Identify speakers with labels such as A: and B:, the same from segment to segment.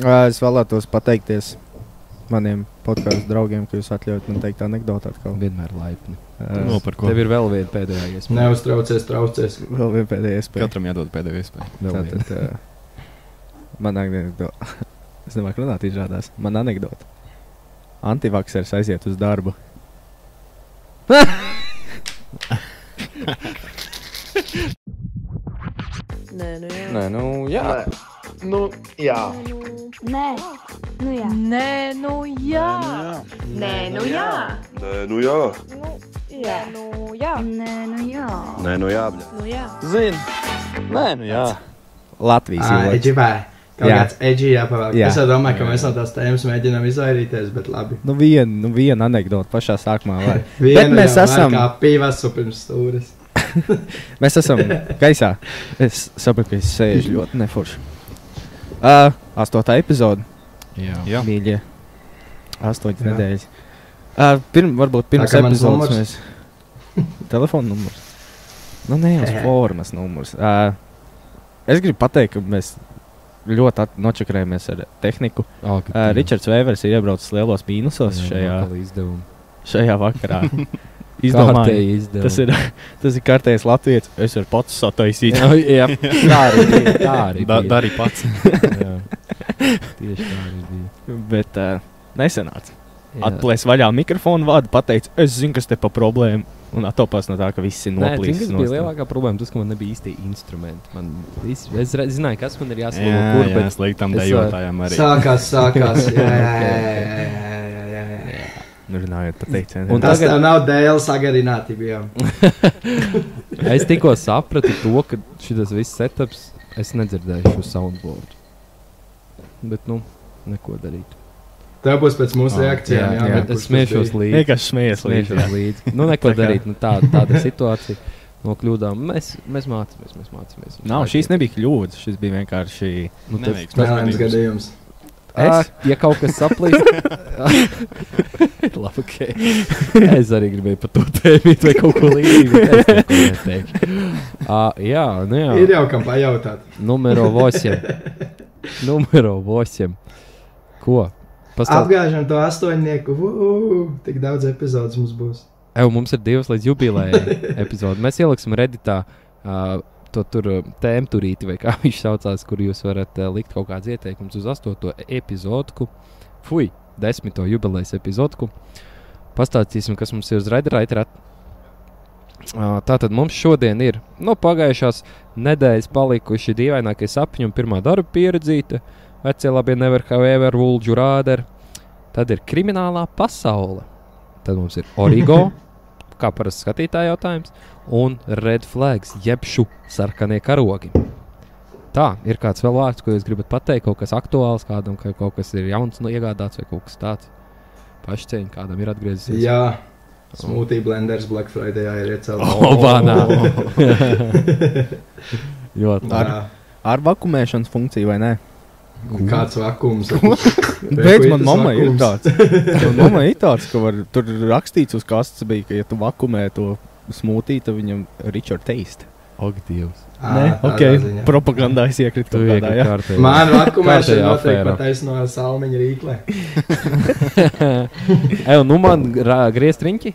A: Es vēlētos pateikties maniem podkāstu draugiem, ka jūs atļaujat man teikt anekdoti atkal.
B: Vienmēr laipni.
A: Ā,
C: No, Nu, par ko?
B: Tev ir vēl viena pēdējā iespēja.
D: Neuztraucies, traucēs.
A: Vēl viena pēdējā iespēja.
C: Katram jādod pēdējo iespēju.
B: Vēl viena.
A: Tātad, uh, man anekdote. Es nemāku runāt, izrādās. Man anekdote. Antivakcers aiziet uz darbu.
E: Nē, nu jā.
F: Nē, nu jā.
G: Nu, jā.
H: Nē, nu jā.
E: Nē, nu jā. Nē, nu jā.
I: Nē, nu jā.
E: Jā, nu jā.
H: Nē, nu jā.
I: Nē, nu jā.
E: Nu jā.
F: Zini. Nē, nu jā.
A: Latvijas
D: Ah,
A: jūlijā.
D: Eģi vai? Kaut
A: Jā.
D: kāds eģi jāpavēl.
A: Jā.
D: Es jau domāju, ka mēs no tās tēmas mēģinām izvairīties, bet labi.
A: Nu, viena nu, vien anekdote pašā sākumā. Var.
D: Vienu
A: mēs
D: jau var
A: esam-
D: Kā pīvas pirms stūres.
A: Mēs esam gaisā. Es saprotu, ka es sēžu ļoti neforši. Uh, astotā epizode.
B: Jā.
C: Jā.
A: Mīļie. Astoņas
D: Jā.
A: nedēļas. Uh, pirm, varbūt pirms
D: kā mans
A: epizodes
D: numurs?
A: mēs. Telefona numurs. Nu, nē, uz formas numurs. Uh, es gribu pateikt, ka mēs ļoti at- nočakarējamies ar tehniku.
B: Oh, ka
A: Uh,
B: tu-
A: Ričards Vēvers ir iebraucis lielos
B: Jā,
A: mīnusos šajā,
B: atkal izdevumi.
A: šajā vakarā. Izdomāju,
B: Kārtēji izdevumi.
A: tas ir, tas ir kārtējs latviečs. Es varu pats sataisīt.
B: Jā, jā. tā arī bija. Tā arī
C: Da,
B: bija.
C: dari pats.
B: Jā. Tieši tā arī bija.
A: Bet uh, nesenāca.
B: Jā.
A: Atplēs vaļā mikrofonu vārdu, pateica, es zinu, kas te pa problēmu. Un attopās no tā, ka viss ir
B: Nē, zini,
A: noplīsis.
B: kas bija lielākā problēma? Tas, ka man nebija īsti instrumenti. Man, es, es re- zināju, kas man ir jāsaka,
C: Jā,
B: kur,
C: jā,
B: bet
C: sliktam
B: es,
C: dejotājam arī.
D: Sākās, sākās. Jā, jā, jā, jā, jā, jā, jā, jā.
A: Nu, runājot par teicieniem.
B: Un
D: Tas
B: tagad-
D: tagad... tev nav dēļ sagarinātība. jau.
B: es tikko sapratu to, ka šis viss setups, es nedzirdēju šo soundboard. Bet, nu, neko darīt.
D: Tev būs pēc mūsu reakcijām.
B: jā,
D: jāmin,
B: bet es
D: kurš tas
B: smiešos
D: bija.
B: līdzi.
A: vienkārši smējies.
B: Smiešos līdzi. Nu, neko
A: Tā kā-
B: darīt. Nu, tā, tāda situācija. No kļūdām mēs, mēs mācāmies. Mēs mācāmies
A: Nav, šīs nebija kļūdas, šis bija vienkārši.
B: Nu, tad-
C: Neveiksmes
D: Nelaimes gadījums.
B: Ā,
A: Es?
B: Ja kaut kas saplīst, labi, okay. es arī gribēju par to teikt, vai kaut ko līdzīgu. bet es neko neteikšu. Ā, Jā, nu
D: Ir
B: jā,
D: jau kam pajautāt.
B: numero 8. Numero 8. Ko? Pastāstiet,
D: Apgāžam to astoņnieku. Uu, tik daudz epizodes mums būs.
B: Evo, mums ir divas līdz jubilejai epizodei. Mēs ieliksim Redditā uh, to tur uh, tēmu turīti, vai kā viņš saucās, kur jūs varat uh, likt kaut kādas ieteikumus uz astoto epizodu. Fui, desmito jubilejas epizodu. Pastāstīsim, kas mums ir uz Redditā. Tā tad mums šodien ir no pagājušās nedēļas palikuši dīvainākie sapņi un pirmā darba pieredzīta. Vecie labie never have ever, Vulģu rāderi. Tad ir kriminālā pasaule. Tad mums ir origo, kā parasti skatītāja jautājums, un red flags, jeb šu sarkanie karogi. Tā ir kāds vēl vārds, ko jūs gribat pateikt, kaut kas aktuāls kādam, ka kaut kas ir jauns, no iegādāts vai kaut kas tāds. Pašcieņa kādam ir atgriezies.
D: Jā, smūti blenders Black Friday ir iecelts.
B: Obānā. Ļoti labi.
D: Jā,
A: Ar vakumēšanas funkciju vai nē?
D: Kāds vakums.
A: Beidz man mamma ir tāds. Man mamma ir tāds, ka var, tur rakstīts uz kastes bija, ka ja tu vakumē to smūtī, tad viņam Richard teist.
B: Ak, Dievs.
A: Nē, ok, propagandā es iekritu
B: Tu
A: kaut kādā,
B: iekļūti
A: jā.
B: kārtībā.
D: Man vakumēšana
B: Kārtējā
D: noteikti
B: afērā.
D: pataisno ar salmiņu rīklē.
B: Evo, nu man rā- griezt riņķi?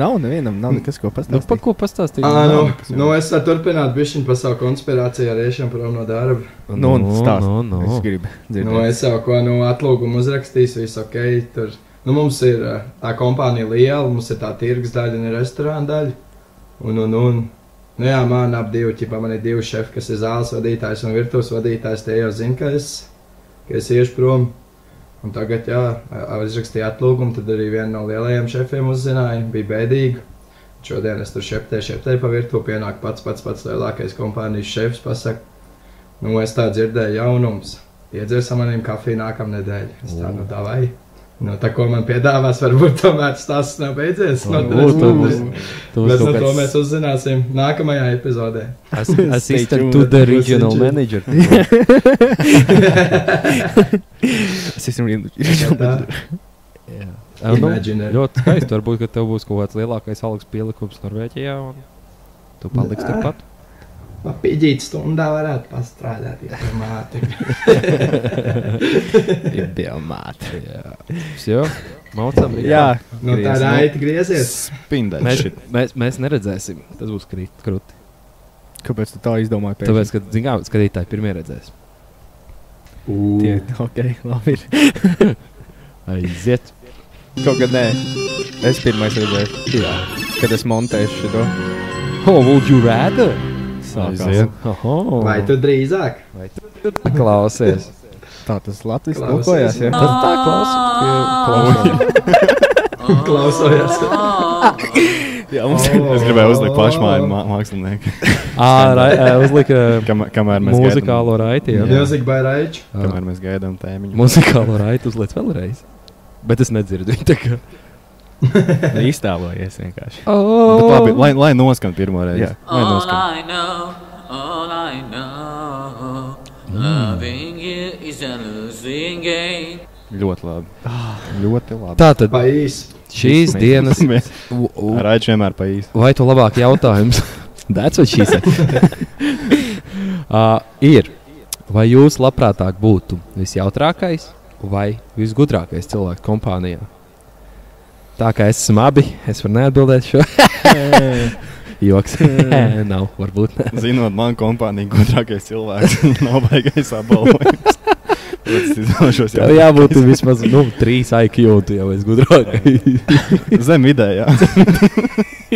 A: Nav nevienam, nav nekas, ko
B: Nu, pa
A: pastāstīt.
B: ko pastāstīt?
D: Ā, Nu, nu, es varu turpināt bišķiņu par savu konspirāciju ar iešanu prom no darba.
A: Nu, un stāst.
B: Nu, nu,
A: Es
B: nu.
A: gribu
D: Nu,
A: dzirdēt.
D: es jau ko nu, atlūgumu uzrakstīju, viss ok. Tur, nu, mums ir eh, tā kompānija liela, mums ir tā tirgus daļa un ir restorāna daļa. Un, un, un. Nu, jā, man ap divi ķipa, man ir divi šefi, kas ir zāles vadītājs un virtuves vadītājs. Tie jau zina, ka es, ka es iešu prom. Un tagad, jā, a- izrakstīju atlūgumu, tad arī viena no lielajiem šefiem uzzināja, bija bēdīga. Šodien es tur šeptēju, šeptēju pa virtuvi, pienāk pats pats pats lielākais kompānijas šefs, pasaka, nu, es tā dzirdēju jaunums. Iedzersim maniem kafiju nākamā nedēļa. Es tā nu tā vai. Nu, tā ko man piedāvās, varbūt tomēr tas nav beidzies. No,
A: nu,
B: Varbūt
D: tas-
B: tu būsi- Tu
D: Bet
B: būsi
D: no
B: kaut
D: to mēs
B: kāds
D: uzzināsim nākamajā epizodē.
B: as- assistant
A: tuned.
B: to the
D: Stay
B: regional
D: tuned.
B: manager.
A: Es esmu
D: Ja
A: rīnu.
D: tā-
B: Jā. Evo, nu,
D: Imaginary.
B: Ļoti skaisti. Varbūt, ka tev būs kaut kāds lielākais algas pielikums Norvēģijā. Un... Tu paliksi turpat.
D: Pidžīt stundā varētu pastrādāt, ja tā māte.
A: Diemāt.
B: Jā. Visu? Maucam, jā.
A: Jā,
D: No tā
A: Griez, nu.
D: raita griezies.
B: Mēs,
F: Spindeļš.
B: mēs, mēs neredzēsim. Tas būs krīt, krūti.
A: kāpēc tu tā izdomāji? pēkšņi?
B: Tāpēc, kad zināmā mērā skatītāji pirmie redzēs,
D: Ū.
A: Tie, ok, labi. Ir.
B: aiziet.
A: Kaut kā nē, es pirmais redzēju,
B: Jā,
A: kad es montēšu šo
B: oh, would you rather?
A: sākumu.
B: Oho.
D: Vai tu drīzāk?
B: klausies?
A: Tā tas Latvijas
D: Klausies.
A: tulkojās, jā.
B: Tas tā klausās. Ah.
D: Klausojās.
A: Jā, mums
D: Oh.
F: Es gribēju uzlikt pašmāju mā- mākslinieku.
B: Ā, uzlika
F: Kam, kamēr mēs gaidām,
B: muzikālo raiti. jā.
D: Music by Raiču.
B: Ā,
F: kamēr mēs gaidām tēmiņu.
B: Muzikālo raiti uzliek vēlreiz. Bet es nedzirdu viņu tā kā. Nu,
A: Iztēlojies vienkārši.
B: Oh.
F: Bet Nu, labi, lai, lai noskan pirmo reizi.
A: Jā.
F: Lai noskan.
C: All I know, all I know, loving you is a losing game.
F: Ļoti labi. Ļoti labi.
B: Tā tad
D: Pa īsi.
B: Ah. šīs dienas.
F: Mēs-
B: U- u-
F: Ar aicinājumu vienmēr pa īsi.
B: Vai tu labāk jautājums? That's what she said. uh, ir. Vai jūs labprātāk būtu visjautrākais vai visgudrākais cilvēks kompānijā? Tā kā es esmu abi, es varu neatbildēt šo joks. Nav, varbūt ne.
F: Zinot, man kompānija gudrākais cilvēks nav baigais apbalvojums. Pēc izdošos
B: Tev jābūt vismaz nu, 3 IQ, un tu jau esi gudrākais.
F: Zem vidējā.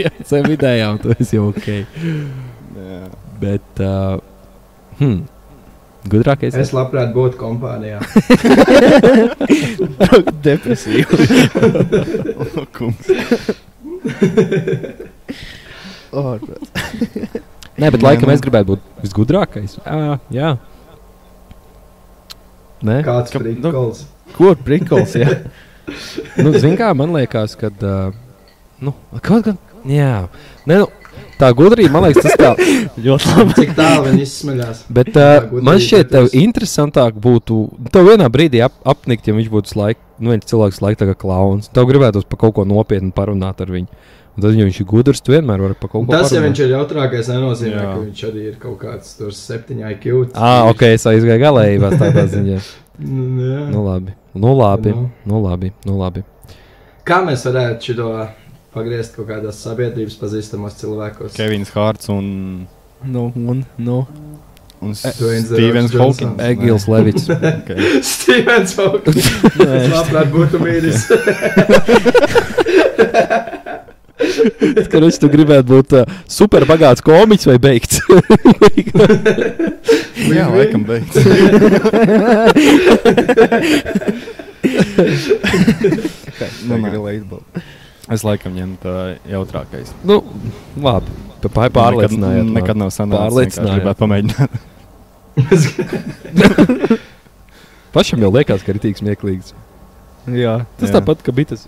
B: Jā, Zem vidējā, un tu esi jau ok.
F: Jā.
B: Bet, uh, hmm, gudrākais
D: Es labprāt būtu kompānijā.
A: Depresīvi.
F: O, kungs.
B: Nē, bet
F: Nē,
B: laikam
F: nu.
B: es gribētu būt visgudrākais. Jā, jā. Nē,
D: Kāds
A: Ka- nu-
D: prikols.
A: Kur prikals, jā?
B: nu, zin kā man liekas, ka. Nu, kaut kā. Jā, Nē, nu, tā gudrība, man liekas, tas tā.
A: Ļoti labi.
D: Cik tālu viņi izsmeļās?
B: Bet
D: Tā
B: uh,
D: gudrība,
B: man šķiet, tev
D: tas-
B: interesantāk būtu. Tev vienā brīdī ap, apnikt, ja viņš būtu laik, nu, viens cilvēks laika tā kā klauns. Tev gribētos par kaut ko nopietnu parunāt ar viņu. Un tad, ja viņš ir gudrs, tu vienmēr vari par kaut ko
D: Tas, ja
B: parunāt.
D: viņš ir jautrākais, nenozīmē,
F: Jā.
D: ka viņš arī ir kaut kāds tur 7 IQ.
B: Ah, ok, es aizgāju galēji, bet tādā ziņā.
D: Nu, jā.
B: Nu, labi. Nu, labi.
D: Nu.
B: Nu, labi. Nu, labi.
D: Kā mēs varētu šo pagriezt kaut kādās sabiedrības pazīstamos cilvēkos?
F: Kevins Hārts un,
A: Nu, un, nu.
F: un
D: Dwayne The
F: Stevens
D: Rock Johnson.
F: Hawkins.
B: Egils Levits.
F: Okay.
D: Stevens Hawkins. Es labprāt būtu mīlis.
B: Kurš tu gribētu būt uh, superbagāts komiķis vai beigts?
F: Jā, laikam beigts.
A: Tā ir
F: nē.
A: relatable.
F: Es laikam ņemu tā jautrākais.
B: nu, labi. Tu pār- Pārliecinājiet.
F: Nekad,
B: mani.
F: nekad nav sanācis.
B: Pārliecinājāt.
F: Pārliecinājāt. Gribētu pamēģināt.
B: Pašam jau liekas, ka ir tik smieklīgs.
A: Jā.
B: Tas Jā.
F: Jā.
B: tāpat, ka bija tas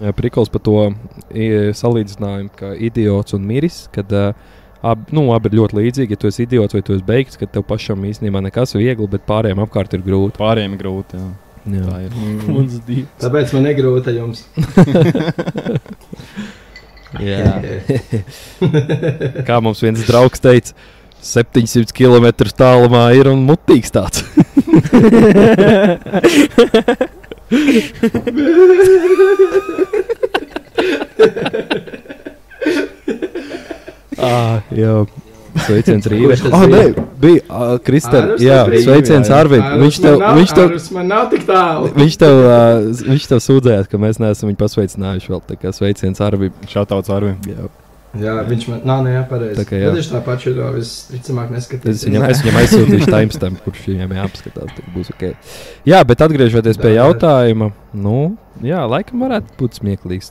B: jā, prikals par to i, salīdzinājumu, ka idiots un miris. Kad, uh, Ab, nu, abi ir ļoti līdzīgi. Ja tu esi idiots vai tu esi beigts, tad tev pašam īstenībā nekas nav viegli, bet pārējiem apkārt ir grūti.
F: Pārējiem grūti. Jā. Tā ir.
A: Mums divi.
D: Tāpēc man ir grūti jums.
B: Jā. Kā mums viens draugs teica, 700 km tālumā ir un mutīgs tāds. ah, jā. Sveiciens Rīgai.
D: Kurš tas
B: Oh, nē,
D: bija?
B: bija uh, Kristēns.
D: Ārus
B: Jā,
D: tas bija?
B: sveiciens Arvim. Viņš tev, viņš tev,
D: Tas man nav tik tālu.
B: viņš tev, uh, viņš tev sūdzējās, ka mēs neesam viņu pasveicinājuši vēl. Tā kā sveiciens Arvim.
F: Šāds ar viņu.
B: Jā.
D: Jā, viņš man nav neapareizi.
B: Tā kā jā.
D: Tad viņš tāpat šo visticamāk
B: Es
D: neskatās.
B: viņam, es viņam aizsūtīšu timestamp, kurš viņam jāapskatās. tad Būs, okay. Jā, bet atgriežoties pie
D: Jā.
B: jautājuma, nu, jā, laikam varētu būt smieklīgs.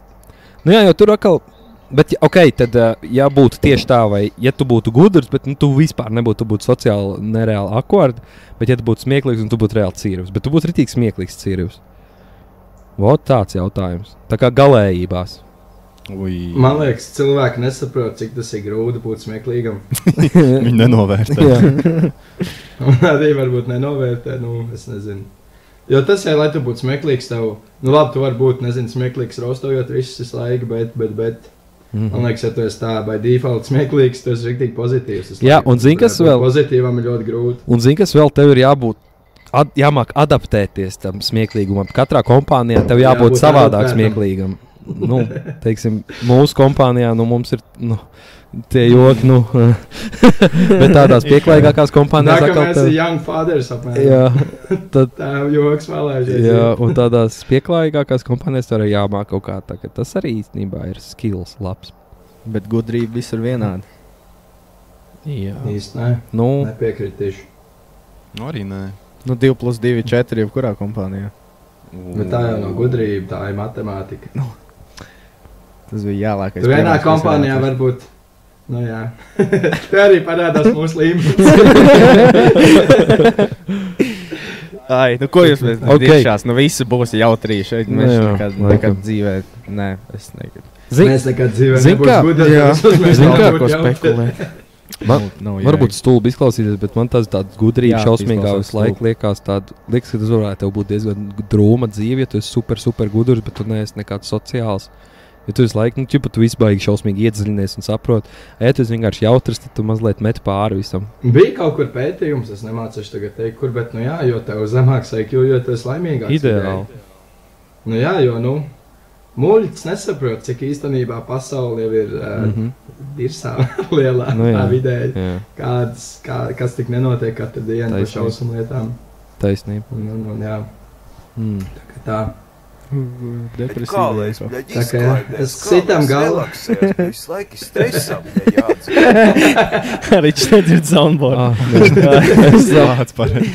B: Nu, jā, jau tur atkal. Bet, ja- ok, tad, ā, ja būtu tieši tā, vai ja tu būtu gudrs, bet nu, tu vispār nebūtu tu būtu sociāli nereāli akordi, bet, ja tu būtu smieklīgs un tu būtu reāli cīrus, bet tu būtu rītīgs smieklīgs cīrus. Vot tāds jautājums. Tā kā galējībās.
F: Ui.
D: Man liekas, cilvēki nesaprot, cik tas ir grūti būt smieklīgam.
F: Viņi nenovērtē.
B: jā,
D: Un arī varbūt nenovērtē, nu, es nezinu. Jo tas, ja, lai tu būtu smieklīgs, tev, nu, labi, tu vari būt, nezinu, smieklīgs, raustojot visu visu laiku, bet, bet, bet,
B: Mhm.
D: man liekas, ja tu esi tā, vai default smieklīgs, tu esi rīktīgi pozitīvs. visu
B: Jā,
D: laiku.
B: un zini,
D: Varētu
B: kas
D: būt
B: vēl?
D: Pozitīvam ir ļoti grūti.
B: Un zini, kas vēl tev ir jābūt Ad, jāmāk adaptēties tam smieklīgumam. Katrā kompānijā tev jābūt,
D: Jābūt
B: jābūt savādāk
D: adaptētam.
B: smieklīgam. Nu, teiksim, mūsu kompānijā nu, mums ir nu, tie joki, nu, bet tādās pieklājīgākās kompānijās atkal
D: Nākamais
B: tev-
D: ir Young Fathers apmēram.
B: Jā, tad,
D: Tā jau joks vēlēšies.
B: jā, un tādās pieklājīgākās kompānijās tur ir jāmāk kaut kā tā, ka tas arī īstenībā ir skills labs.
A: Bet gudrība visur vienāda.
B: Jā.
D: Īsti nē,
B: Nu,
D: nepiekritīšu.
F: Nu, arī nē.
A: Nu, 2 plus 2, 4 jebkurā kompānijā.
B: Mm.
D: Bet tā jau nav gudrība, tā ir matemātika.
A: Tas bija jālākais.
D: Tur vienā
A: piemērs, kas
D: kompānijā
A: varētu-
D: var būt. Nu, jā, tā arī parādās mūsu līmenī.
A: Ai, nu ko jūs mēs
B: Ok. Nu,
A: okay. šās, nu visi būs jautrīgi šeit. Mēs
B: Jā,
A: nekad,
B: laikam.
A: nekad dzīvē, nē, es negribu.
B: zini,
D: Mēs nekad dzīvē
B: Zin kā?
D: nebūsim gudri.
A: Jā.
D: mēs
B: Zin kā?
D: nevaram būt jautri.
B: Man-
A: nu,
B: Varbūt stulbi izklausīties, bet man tās tādas gudrības,
A: Jā,
B: šausmīgā
A: izklausās
B: visu laiku liekas, tāda, liekas, ka tas varētu tev būt diezgan drūma dzīve, ja tu esi super, super gudrs, bet tu neesi nekāds sociāls. Ja tu visu laiku, nu, čipa, tu vispār šausmīgi iedziļinies un saproti, ja tu esi vienkārši jautrs, tad tu mazliet met pāri visam.
D: Bija kaut kur pētījums, es nemācīšu tagad teikt, kur, bet, nu jā, jo tev zemāks IQ, jo tu esi laimīgāks.
B: Ideāli.
D: Nu jā, jo, nu, muļķis nesaprot, cik īstenībā pasaule jau ir uh, mm
B: Mhm.
D: -hmm. irsā lielā
B: Nu
D: nu,
B: jā.
D: vidē,
B: Jā,
D: kāds, kā, kas tik nenotiek katru dienu par
B: Taisnība.
D: šausmu lietām.
B: taisnība.
D: Un, un, un, jā,
B: Mm.
D: tā kā tā.
A: depresija.
D: Tā kā es sitam galvu.
G: Visu laiku stresam.
J: Arī šeit ir soundboard.
B: Ah,
F: Es domāju, pareizi.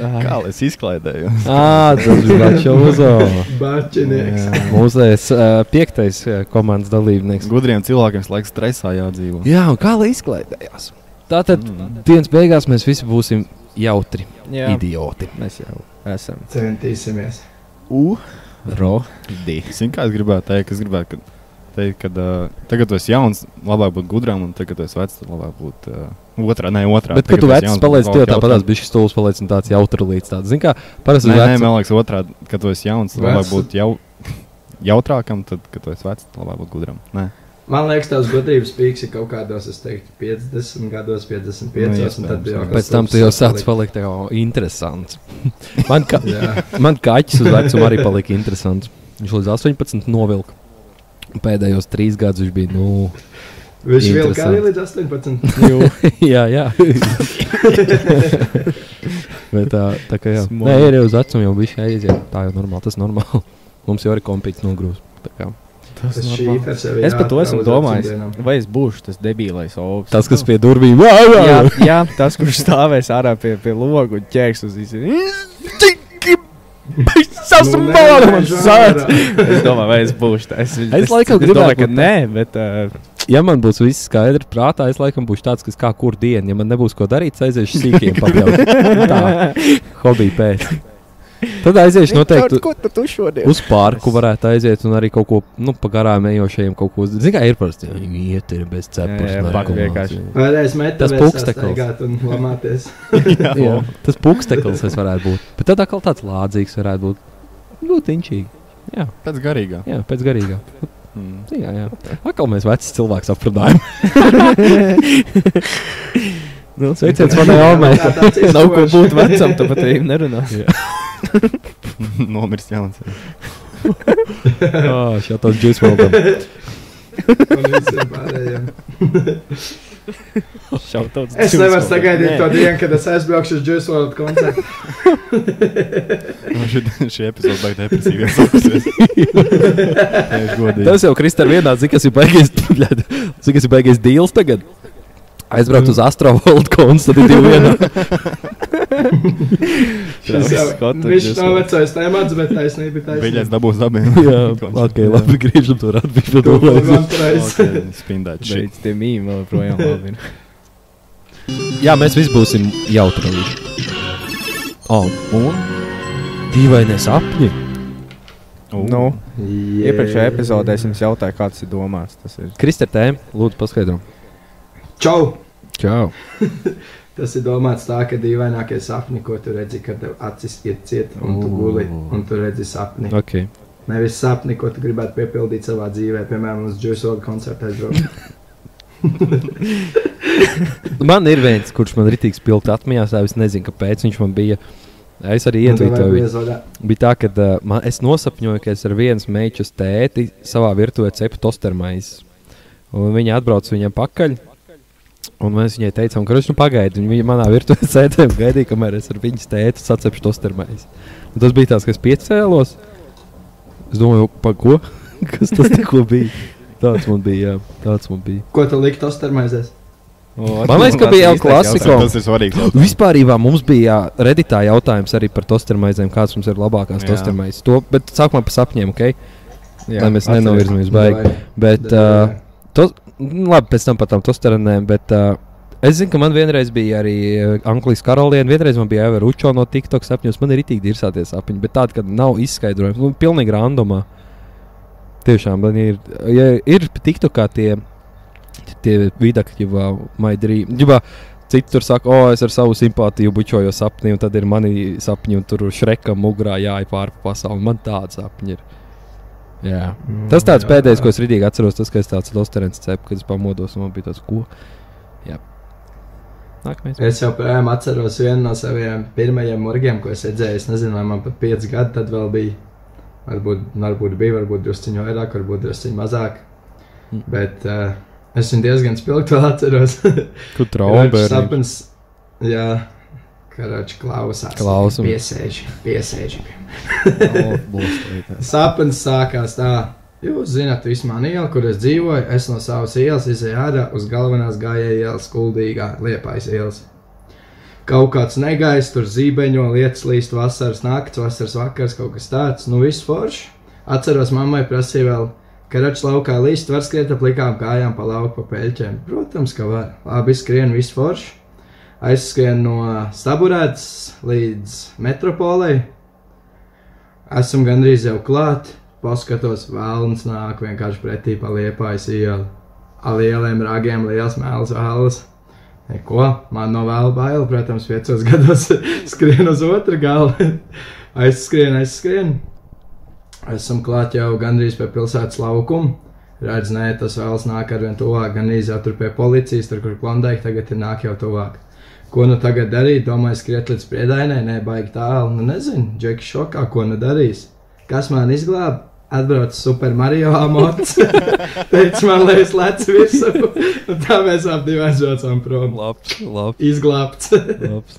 F: Kā lai es izklaidēju?
B: ah, tas bija Bačozo.
D: Bačinieks.
B: Mūzēs uh, piektais uh, komandas dalībnieks.
F: Gudriem cilvēkiem visu laiku stresā jādzīvo.
B: Jā, un kā lai izklaidējās? Tātad mm. dienas beigās mēs visi būsim jautri, Jā.
A: Jā,
B: idioti.
A: mēs jau esam.
D: Centīsimies.
F: U.
A: Ro.
F: Zini, kā es gribētu teikt, es gribētu ka- teikt, ka uh, tagad tu esi jauns, labāk būt gudram, un tagad tu esi vecs, tad labāk būt uh, otrā, ne otrā.
B: Bet, kad
F: Tagad
B: tu
F: esi
B: vecs
F: jauns,
B: paliec,
F: labāk
B: tev
F: jautram.
B: tāpat bija šis stūlis, paliec un tāds jautrs līdz tādam. Zini, kā parasti
F: Nē, nē,
B: vecs,
F: man liekas, otrā, kad tu esi jauns, tad
D: Vecs.
F: labāk būt jau, jautrākam, tad, kad tu esi vecs, tad labāk būt gudram. Nē.
D: Man liekas, tās gudrības pīks ir kaut kādos, es teiktu, 50 gados, 55 gados, un tad jau
F: iespējams, jā.
D: kaut
B: pēc
D: kas
B: tam tu jau sāc
D: palikt.
B: palikt tā kā o, interesants. man, kā,
D: Jā.
B: man kaķis uz vecumu arī palika interesants. Viņš līdz 18 novilka. Un Pēdējos trīs gadus viņš bija. Nu,
D: Viņš vēl kā arī
B: Interesanti.
D: līdz 18.
B: jā, jā. Bet, tā, tā kā jau. Nē, ir jau uz vecumu, jau bija šī aiziet. Tā jau normāli, tas normāli. Mums jau arī kompīts nogrūst. Tā kā.
D: Tas šīfers jau ir.
A: Es par to esmu
D: jāatrauc
A: domājis.
D: atsimdienam.
A: Vai es būšu tas debilais augs?
B: Tas, kas pie durvīm jau
A: Jā, jā, tas, kurš stāvēs ārā pie, pie loga un ķēks uz īsi.
D: Nu, nē,
A: Sasmalot!
D: nē,
A: Sāc!
D: žanrā.
A: Es domāju, vai es būšu tas.
B: Es laikam
A: es domāju,
B: gribētu
A: ka
B: būt
A: nē, bet uh,
B: ja man būs viss skaidrs prātā, es laikam būšu tāds, kas kā kur dienu, ja man nebūs ko darīt, es aiziešu sīkiem papildus. Tā, hobija pēc. Tad aiziešu noteikti. Ko tu šodien? Uz parku varētu aiziet un arī kaut ko, nu, pagarām ejošajiem kaut ko. Zini, kā ir parasti. Viņi iet ir bez cepures.
A: Jā, jā,
B: narkomāns,
A: vienkārši.
B: jā.
D: Vēlreiz metā
B: Tas pulkstekls.
D: Tagad un lamāties.
B: Jā, tas pūksteklis es varētu būt. Bet tad atkal tāds lādzīgs varētu būt. Ļoti inčīgi.
F: Pēc garīgā.
B: Jā, pēc garīgā.
F: Mm.
B: Jā, jā. Atkal mēs veci cilvēki aprunājam. nu, sveiciens manai omai.
D: Tā, tāds
A: nav ko
D: izkoš.
A: būt vecam, tu pat arī nerunā.
F: Mm. Nomirst jauns.
B: Jā, šā tāds džusmeldam.
D: Un visiem pārējiem.
J: Šautauts
D: Es
J: Juice
D: nevaru
J: WRLD.
D: sagaidīt
J: Nē.
D: to dienu, kad es aizbraukšu uz Juice WRLD koncertu.
F: Nu, šī- Šī epizode beigas depresīvi. sāksies. Tieši godīgi.
B: Tas jau Kristēns vienā, cik tas ir baigies, bļad, cik tas ir baigies deals tagad. Aizbraukt uz Astrovoldu koncertu divu vienā.
D: Šis jau-
A: Scott un
D: Viņš
A: Juice
D: nav vecais temats, bet taisnība ir
F: Beļķis
D: taisnība.
F: dabūs dabī.
B: jā, ok, labi, griežam to
D: Tu
B: atbildību.
D: man pareizi.
F: Spindēt šī.
A: Šeit tie mīmi vēl projām labi. ir.
B: Jā, mēs visi būsim jautri. Oh, un? Dīvainie sapņi.
A: Nu,
D: Jē.
A: iepriekšējā epizodē es jums jautāju, kāds ir domās. Tas ir
B: Kristēn, tēma, lūdzu, paskaidro.
D: Čau!
B: Čau.
D: Tas ir domāts tā, ka dīvainākie sapņi, ko tu redzi, kad tev acis ir cieta un tu guli un tu redzi sapni.
B: Okay.
D: Nevis sapni, ko tu gribētu piepildīt savā dzīvē, piemēram, uz Juice WRLD koncertu aizbraukt.
B: Man ir viens, kurš man ir tik spilgti atmiņā, tā es nezinu, kāpēc viņš man bija. Es arī
D: Nu,
B: ietvītoju. Bija tā, ka uh, man, es nosapņoju, ka es ar vienas meitas tēti savā virtuvē cepu tostermaizi. Un viņa atbrauca viņam pakaļ. Un mēs viņai teicām, ka viņš nu pagaidi. un Viņa manā virtuvē sēdēja un gaidīja, kamēr es ar viņas tēti sacepšu tostermaizi. Un tas bija tas, kas piecēlos. Es domāju, pa ko? kas tas tikko bija? Tāds man bija. Jā, tāds man bija.
D: Ko tu liktu ostermaizēs?
F: Nu,
B: Man liekas, ka bija El Clasico.
F: Tas ir svarīgi. jautājums.
B: Vispār mums bija redītā jautājums arī par tostermaizēm, kādas mums ir labākās
F: Jā.
B: tostermaizes. To, bet sākumā par sapņiem, ok? Jā, Lai mēs
F: atceries.
B: nenovirzamies baigi. Bet, uh, to, nu, labi, pēc tam par tām tosterēm, bet uh, es zinu, ka man vienreiz bija arī uh, Anglijas karaliene, vienreiz man bija Eva Ručo no TikTok sapņos. Man ir itīgi dirsāties sapņi, bet tādi, kad nav izskaidrojums, nu, pilnīgi randomā. Tiešām, man ir, ja ir TikTokā tie, tie vidakļi, jau maidrīgi. Citi tur saka, o, es ar savu simpātiju bučoju sapni, un tad ir mani sapņi, un tur šreka mugurā jāja pāri pa pasauli. Man tādi sapņi ir. Jā. Tas tāds pēdējais, ko es rītīgi atceros, tas, ka es tāds losterens cepu, kad es pamodos un man bija tāds, ko. Jā. Nākamais.
D: Es joprojām atceros vienu no saviem pirmajiem murgiem, ko es redzēju. Es nezinu, vai man pat 5 gadi tad vēl bija. Varbūt, nu, varbūt bija, varbūt drusciņš vairāk, varbūt drusciņš mazāk.
B: Mm.
D: Bet uh, es viņu diezgan spilgti vēl atceros.
B: Tu
D: Karāču
B: traumas.
D: sapnis. Jā, karačs klausās.
B: Klausam.
D: Piesēž, piesēž. Sapnis sākās tā. Jūs zināt, visu manu ielu, kur es dzīvoju, es no savas ielas izēju ārā uz galvenās gājēju ielas, kuldīgā liepais ielas. Kaut kāds negaiss, tur zībeņo, lietas līst vasaras nakts, vasaras vakars, kaut kas tāds, nu viss forši. Atceros, mammai prasīja vēl, ka račs laukā līst, var skriet ap likām kājām pa lauku pa peļķiem. Protams, ka var. Labi, skrien, viss forši. Aizskrien no staburētas līdz metropolei. Esam gandrīz jau klāt, paskatos, vēlams nāk vienkārši pretī pa liepājas ielu. Ar lieliem ragiem, liels mēls vēlas. Neko, man no vēla bail, protams, piecos gados skrien uz otru galu. Aizskrien, aizskrien. Esam klāt jau gandrīz pie pilsētas laukuma. Redz, nē, tas vēlas nāk ar vien tuvāk, gan jau tur pie policijas, tur, kur klondēk, tagad ir nāk jau tuvāk. Ko nu tagad darīt? Domāju, skriet līdz priedainai, nē, baigi tālu. Nu, nezinu, Džeki, šokā, ko nu darīs. Kas man izglāba? Atbrauc Super Mario amots. Teicis man, lai es lecu visu. Un tā mēs abi aizbraucām prom.
B: Labs, labs,
D: Izglābts.
B: labs.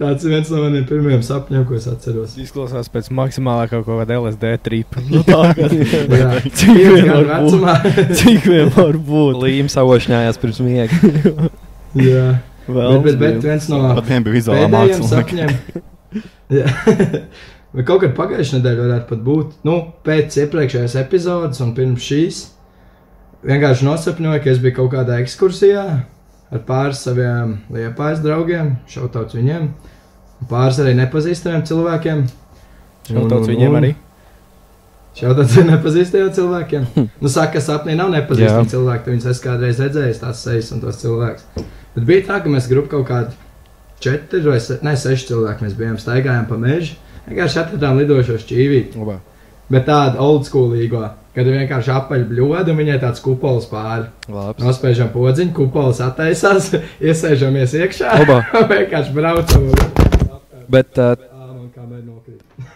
D: Tāds ir viens no maniem pirmajiem sapņiem, ko es atceros.
A: Izklausās pēc maksimālākā kaut kāda LSD tripa. Nu, tā,
D: Jā,
A: Cik
D: pieci
A: vien
D: gadu
A: var būt?
D: vecumā.
A: Cik vien var būt?
B: Līmums savošņājās pirms miega.
D: Jā,
A: Vēl
D: bet, bet, bet viens no
F: Patiem bija vizuālā
D: pēdējiem
F: māksla.
D: sapņiem. Jā. Vai kaut kad pagājušajā nedēļā varētu pat būt, nu, pēc iepriekšējās epizodes un pirms šīs, vienkārši nosapņoju, ka es biju kaut kādā ekskursijā ar pāris saviem liepais draugiem, šautauts viņiem, un pāris arī nepazīstamiem cilvēkiem.
A: Šautauts viņiem arī.
D: Šautauts ar nepazīstamiem cilvēkiem. Nu, saka, ka sapnī nav nepazīstami cilvēki, tad viņas es kādreiz redzēju, tās sejas un tos cilvēkus. Bet bija tā, ka mēs grupu kaut kādā četri vai se, ne, seši cilvēki. Mēs bijām staigājām pa mežu. Vienkārši atradām lidošo šķīvīti.
F: Labā.
D: Bet tāda old schoolīgo, kad ir vienkārši apaļbļoda un viņai tāds kupols pāri.
B: Labs.
D: Nospēžam podziņu, kupols attaisās, iesēžamies iekšā.
B: Labā.
D: vienkārši braucam.
B: Bet uh,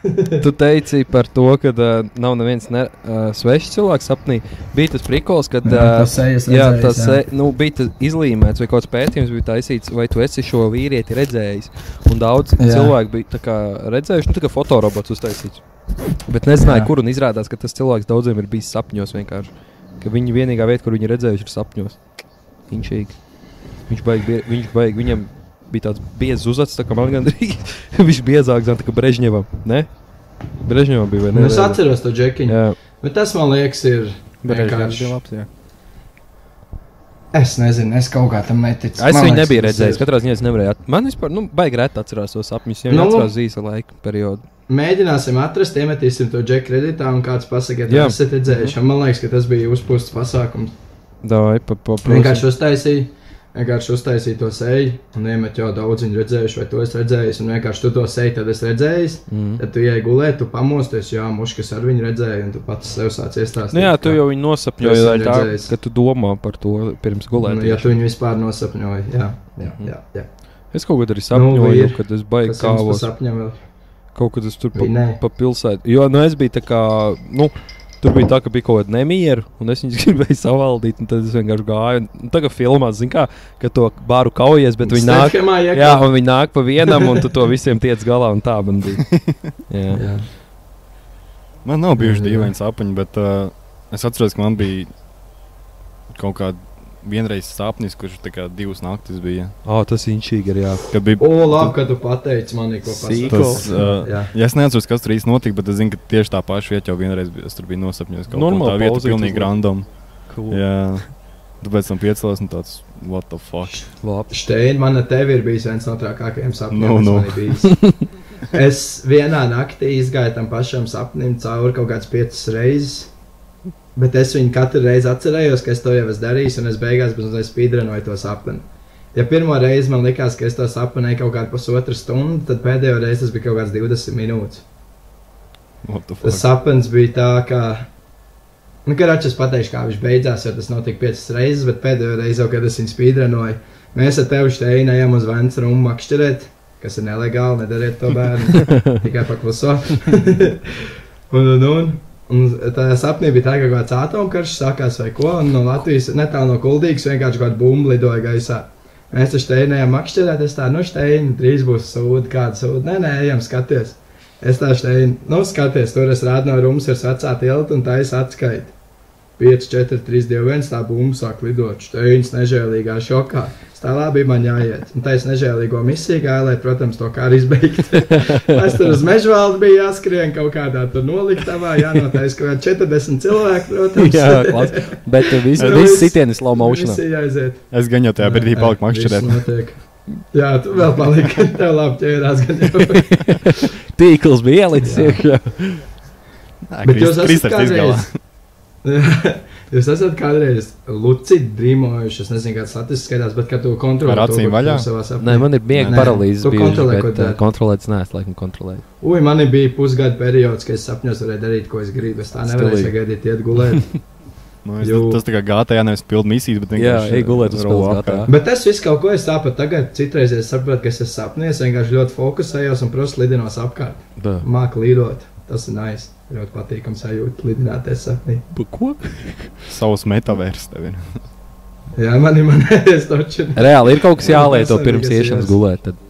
D: Un...
B: Tu teici par to, ka uh, nav neviens ne, uh, svešs cilvēks sapnī. Bija tas prikols, kad.
D: Jā, tas sejas
B: jā,
D: redzējis,
B: tas
D: jā.
B: se, nu, bija tas izlīmēts, vai kāds pētījums bija taisīts, vai tu esi šo vīrieti redzējis. Un daudz jā.
D: Jā.
B: cilvēku bija tā kā redzējuši, nu, tā kā fotorobots uztaisīts. Bet nezināju, jā.
D: Jā.
B: kur un izrādās, ka tas cilvēks daudziem ir bijis sapņos vienkārši. Ka viņa vienīgā vieta, kur viņi redzējuši, ir sapņos. Inčīgi. Viņš baigi, bie- viņš baigi, viņam bija tāds biezs uzvārds, tā kā man gandrīz viņš bija biezāks, zem, tā kā Brežņevam. Ne? Brežņevam bija vai ne?
D: Nu, es atceros to džekiņu.
B: Jā,
D: Bet tas man liekas, ir vienkārši. Es nezinu, es kaut kā tam neticu.
B: es
D: Man
B: viņu
D: liekas,
B: nebiju
D: tas ir-
B: redzējis. Katrā ziņā es nevarēju. At... Man vispār, nu, baigi rēt atcerās tos sapņus. Jā,
D: Nu.
B: nu, atcerās īsa laika periodu.
D: Mēģināsim atrast, iemetīsim to džeku kredītā un kāds pasakiet,
B: Jā.
D: kas esat redzējuši. Un Man liekas, ka tas bija uzpūsts pasākums.
B: Davai, pa, pa, pa,
D: Vienkārši uztaisīja. Vienkārši uztaisīja to seju, un iemet jau daudz viņu redzējuši, vai to es redzēju, un vienkārši tu to seju, tad es redzēju.
B: Mm.
D: Tad tu ej gulēt, tu pamosties, jā, muškas ar viņu redzēja, un tu pats sev sāc iestāstīt.
B: Nu, jā, tu
D: ka-
B: jau viņu nosapņoji,
D: esmu
B: lai tā,
D: redzējis.
B: ka tu domā par to pirms
D: Nu,
B: gulēt. Mhm.
D: ja tu viņu vispār nosapņoji, jā, jā, jā. jā.
B: Es kaut kad arī
D: Nu,
B: sapņoju,
D: ir.
B: nu, kad es baigi
D: Tas jums
B: kāvos.
D: pasapņem vēl.
B: Kaut kad es tur pa,
D: Bija, nē.
B: pa pilsētu. Jo nu, es biju tā kā. Nu, Tur bija tā, ka bija kaut kāda nemiera, un es viņu gribēju savaldīt, un tad es vienkārši gāju. Un Tagad filmā, zināmā mērā, ka to bāru kaujies, bet viņi nāk,
D: Stephenā iekā.
B: jā, un viņi nāk pa vienam, un tu to visiem tiec galā, un tā man bija. Jā.
D: Jā.
F: Man nav bijuši dīvaini sapņi, bet uh, es atceros, ka man bija kaut kāda vienreiz sapnis, kurš tā kā divas naktis bija.
B: Oh, tas ir inčīgi, ir jā.
F: Kad bija
D: O, labi, ka tu pateici man, ko
B: Sīko.
F: tas, uh,
D: Jā.
F: ja es neatceros, kas tur īsti notika, bet es zinu, ka tieši tā paša vieta jau vienreiz bija. Es tur biju nosapņojis kaut ko
B: Normāli
F: tādu, vieta
B: pauzīt
F: pilnīgi
B: uzliek.
F: random.
B: Cool.
F: Jā. Tāpēc tam piecēlās un tāds, what the fuck?
B: Labi.
D: Šteini, man ar tevi ir bijis viens no trakākajiem sapņiem.
F: Nu,
D: kas man
F: nu.
D: ir bijis. es vienā naktī izgāju tam pašam sapnim cauri kaut kādas piecas reizes. Bet es viņu katru reizi atcerējos, ka es to jau esmu darījis, un es beigās spīdrenoju to sapni. Ja pirmo reizi man likās, ka es to sapnēju kaut kādu pusotru stundu, tad pēdējo reizi tas bija kaut kāds 20 minūtes.
F: What the
D: Tas
F: fuck?
D: sapnis bija tā, ka. Nu, Karačs pateiks, kā viņš beidzās, jo tas notika piecas reizes, bet pēdējo reizi, jau, kad es viņu spīdrenoju, mēs ar tevi šeit ejam uz Vēncas rumu makšķerēt, kas ir nelegāli, nedariet to bērnu. Tikai pakluso. un, un, un, un tā sapnī bija tā, ka kaut kāds atomkarš sākās vai ko, un no Latvijas netālu no Kuldīgas vienkārši kaut kāda bumba lidoja gaisā. Mēs ar Steinēju makšķerēt, es tādu, nu, Steini, drīz būs sūdi, kāda sūdi. Nē, nē, ejam, skaties. Es tā šeit, nu, skaties, tur es rādu no rūmus, ir vecā tilta un taisa atskaita. 5, 4, 3, 2, 1, tā bumba sāk lidot. Steins nežēlīgā šokā. Es Tā labi man jāiet. Un taisa nežēlīgo misiju gāja, lai, protams, to kā arī izbeigtu. es tur uz mežvaldu biju jāskrien kaut kādā tur noliktavā, jānotais kaut kādi 40 cilvēki, protams.
B: Jā, klasi. Bet uh, viss
D: Nu,
B: vis
D: viss-
B: sitienis slow motionā.
D: Visi jāiziet.
F: Es gan jau tajā brīdī
D: Nē,
F: paliku
D: viss
F: makšķerēt.
D: notiek. Jā, tu vēl paliki. Tev labi ķērās. Gan jau.
B: Tīkls bija ielicis
D: Jā.
B: iekšā.
D: Bet jūs
F: Krist-
D: esat
F: Kristers izgalā.
D: kādreiz. Jā, jūs esat kādreiz lucidi drīmojuši. Es nezinu, kādas statistikas skatās, bet kad tu kontrolē
F: Ar acīm vaļā?
B: Nē, man ir miega
F: Nē, nē.
B: paralīze.
D: Tu kontrolē, ko
B: Bet uh,
D: dari.
B: kontrolēts nē, es laikam kontrolēju.
D: Ui, man bija pusgada periods, kad es sapņos varēju darīt, ko es gribu. Es tā nevarēju
B: Stilīgi.
D: sagaidīt, iet gulēt.
F: Nu, es,
D: Jū.
F: tas tā kā gātā, jā, nevis pildu misijas, bet
B: Jā,
F: vienkārši.
B: ej gulēt
D: uh,
B: uz
F: rolo
B: pilsētu.
F: apkārt.
B: tā.
D: bet es visu kaut ko es tāpat tagad, citreiz es saprotu, ka es esmu sapnies, vienkārši ļoti fokusējos un prosu lidinos apkārt.
B: Da.
D: Māku lidot, tas ir nice. Ļoti patīkams sajūta lidināties sapnī.
B: Pa ko?
F: Savus metaversus tev ir.
D: Jā, man ir manējais točs.
B: Reāli ir kaut kas
D: Jā,
B: jālieto
D: tas arī,
B: pirms
D: kas
B: iešanas
D: jās-
B: gulēt. Tad.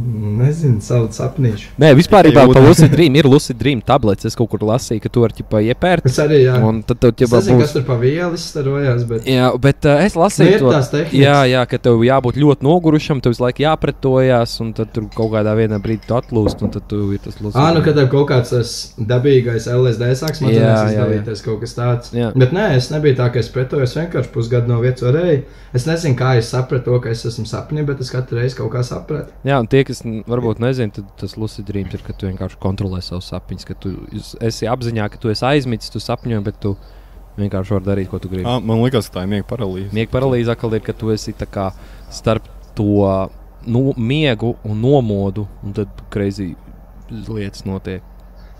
D: Nezinu, savu sapnīšu.
B: Nē, vispār
F: Tikai
B: jau
F: jūtas.
B: par Lucid Dream ir Lucid Dream tablets. Es kaut kur lasīju, ka to var ķipa iepērkt.
D: Es arī, jā.
B: Un tad tev
D: Es
B: ķipa
D: nezinu,
B: būs.
D: kas tur pa vielu izstarojās, bet
B: Jā, bet uh, es
D: Nu,
B: lasīju
D: ir
B: to.
D: tās tehnikas.
B: Jā, jā, ka tev jābūt ļoti nogurušam, tev visu laiku jāpretojās, un tad tur kaut kādā vienā brīdī tu atlūst, un tad tu ir tas lūzums.
D: Ā, nu, kad tev kaut kāds tas dabīgais LSD sāks
B: Jā,
D: mācīties,
B: jā, jā.
D: dalīties kaut kas tāds.
B: Jā.
D: Bet nē, es nebiju tā, ka es pretojos vienkārši pusgadu no vietas varēju. Es nezinu, kā es sapratu to, ka es esmu sapnī, bet es katru reizi kaut kā sapratu.
B: Jā, un tie, kas n- varbūt nezina, tad tas lucid dreams ir, ka tu vienkārši kontrolē savus sapņus, ka tu iz- esi apziņā, ka tu esi aizmidzis, tu sapņo, bet tu vienkārši vari darīt, ko tu gribi.
F: Ah, man liekas, ka tā ir miega paralīze.
B: Miega paralīze atkal ir, ka tu esi tā kā starp to nu, miegu un nomodu, un tad kreizī lietas notiek.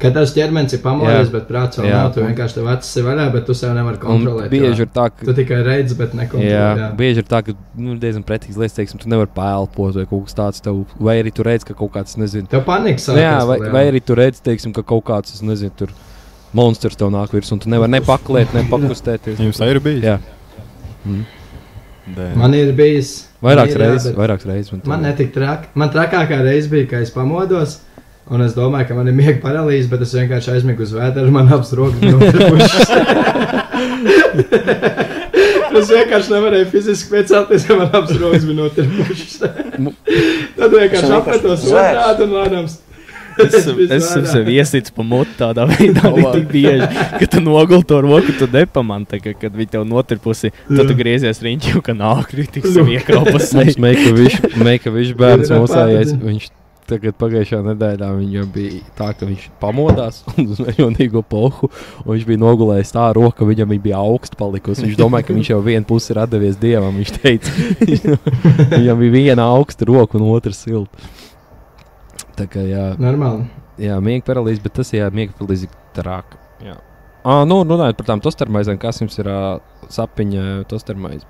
D: Kad tas ķermenis ir pamodies,
B: Jā.
D: bet prāts vēl
B: Jā.
D: nav, tu vienkārši tev acis ir vaļā, bet tu sev nevari
B: Un
D: kontrolēt.
B: bieži ir tā, ka
D: Tu tikai redzi, bet nekontrolē.
B: Jā, jā.
D: jā.
B: Bieži ir tā, ka nu, diezgan pretīgs lietas, teiksim, tu nevari pēlpot vai kaut kas tāds, tev, vai arī tu redz, ka kaut kāds, nezinu,
D: Tev panika
B: nu,
D: sākās.
B: jā, vai,
D: vēl,
B: vai arī tu redz, teiksim, ka kaut kāds, es nezinu, tur monstrs tev nāk virsū, un tu nevari nepaklēt, nepakustēties.
F: Jums tā ir bijis?
B: Jā.
F: Dē.
D: Man ir bijis.
B: Vairākas
D: man ir, jā,
B: reizes,
D: bet-
B: vairākas reizes. Man,
D: Man
B: tā-
D: netika traki. Man trakākā reize bija, kad es pamodos. Un es domāju, ka man ir miega paralīze, bet es vienkārši aizmigu uz vēdra un man abas rokas bija notrūkušas. es vienkārši nevarēju fiziski piecelties, ja man abas rokas bija notrūkušas. Tad vienkārši apmetos otrādi un lēnām.
A: Es esmu sev iesprūdis pa mutu tādā veidā, ka tik bieži, ka tu nogulti to roku, tu nepamani, tā kā, kad viņi tev notirpusi. Tad tu griezies riņķī, ka nāk, tik sev iekrāpas.
B: Mums Meikavičs bērns
D: Ir ar
B: mūsējais,
D: pārdzi.
B: viņš tagad pagājušā nedēļā viņam bija tā, ka viņš pamodās un uz mežonīgo pohu, un viņš bija nogulējis tā roka, viņam viņa bija augsta palikusi. Viņš domāja, ka viņš jau vienu pusi ir atdevies dievam, viņš teica. viņam bija viena augsta roka un otra silta. Tā kā jā,
D: Normāli.
B: jā miega paralīze, bet tas jā, miega paralīze ir trāk. Jā. Ah, nu, runājot par tām tostarmaizēm, kas jums ir ā, sapiņa tostarmaize?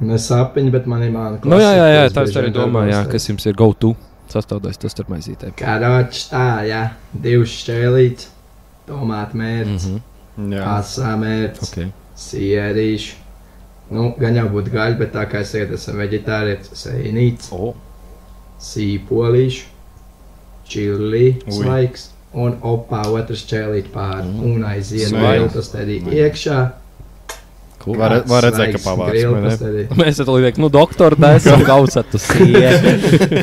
D: Ne sapņi, bet man ir mana
B: Nu, jā, jā, jā, tā es arī domāju, jā, kas jums ir go-to sastāvdaļas, tas starp maizītēm.
D: Karoči, tā, jā, divas šķēlītes, tomātu mērķis, mm
B: Mhm.
D: -hmm.
F: Jā,
D: asā mērķis,
B: Okay.
D: okay. sierīši. Nu, gan jau būtu gaļa, bet tā kā es iet, esmu veģetārietis, sēnīts,
B: Oh.
D: sīpoliši, čili,
F: Ui. Mhm.
D: svaigs un opā otrs čēlīt pāri mm. un aiziet
F: Svaigs.
D: viltus arī iekšā.
B: Cool.
F: Var- var redzēt, ka
D: Svaigs
F: pavārs, vai ne?
D: grilpas arī.
B: Mēs tam liekam, nu, doktor, tas ir gausāts.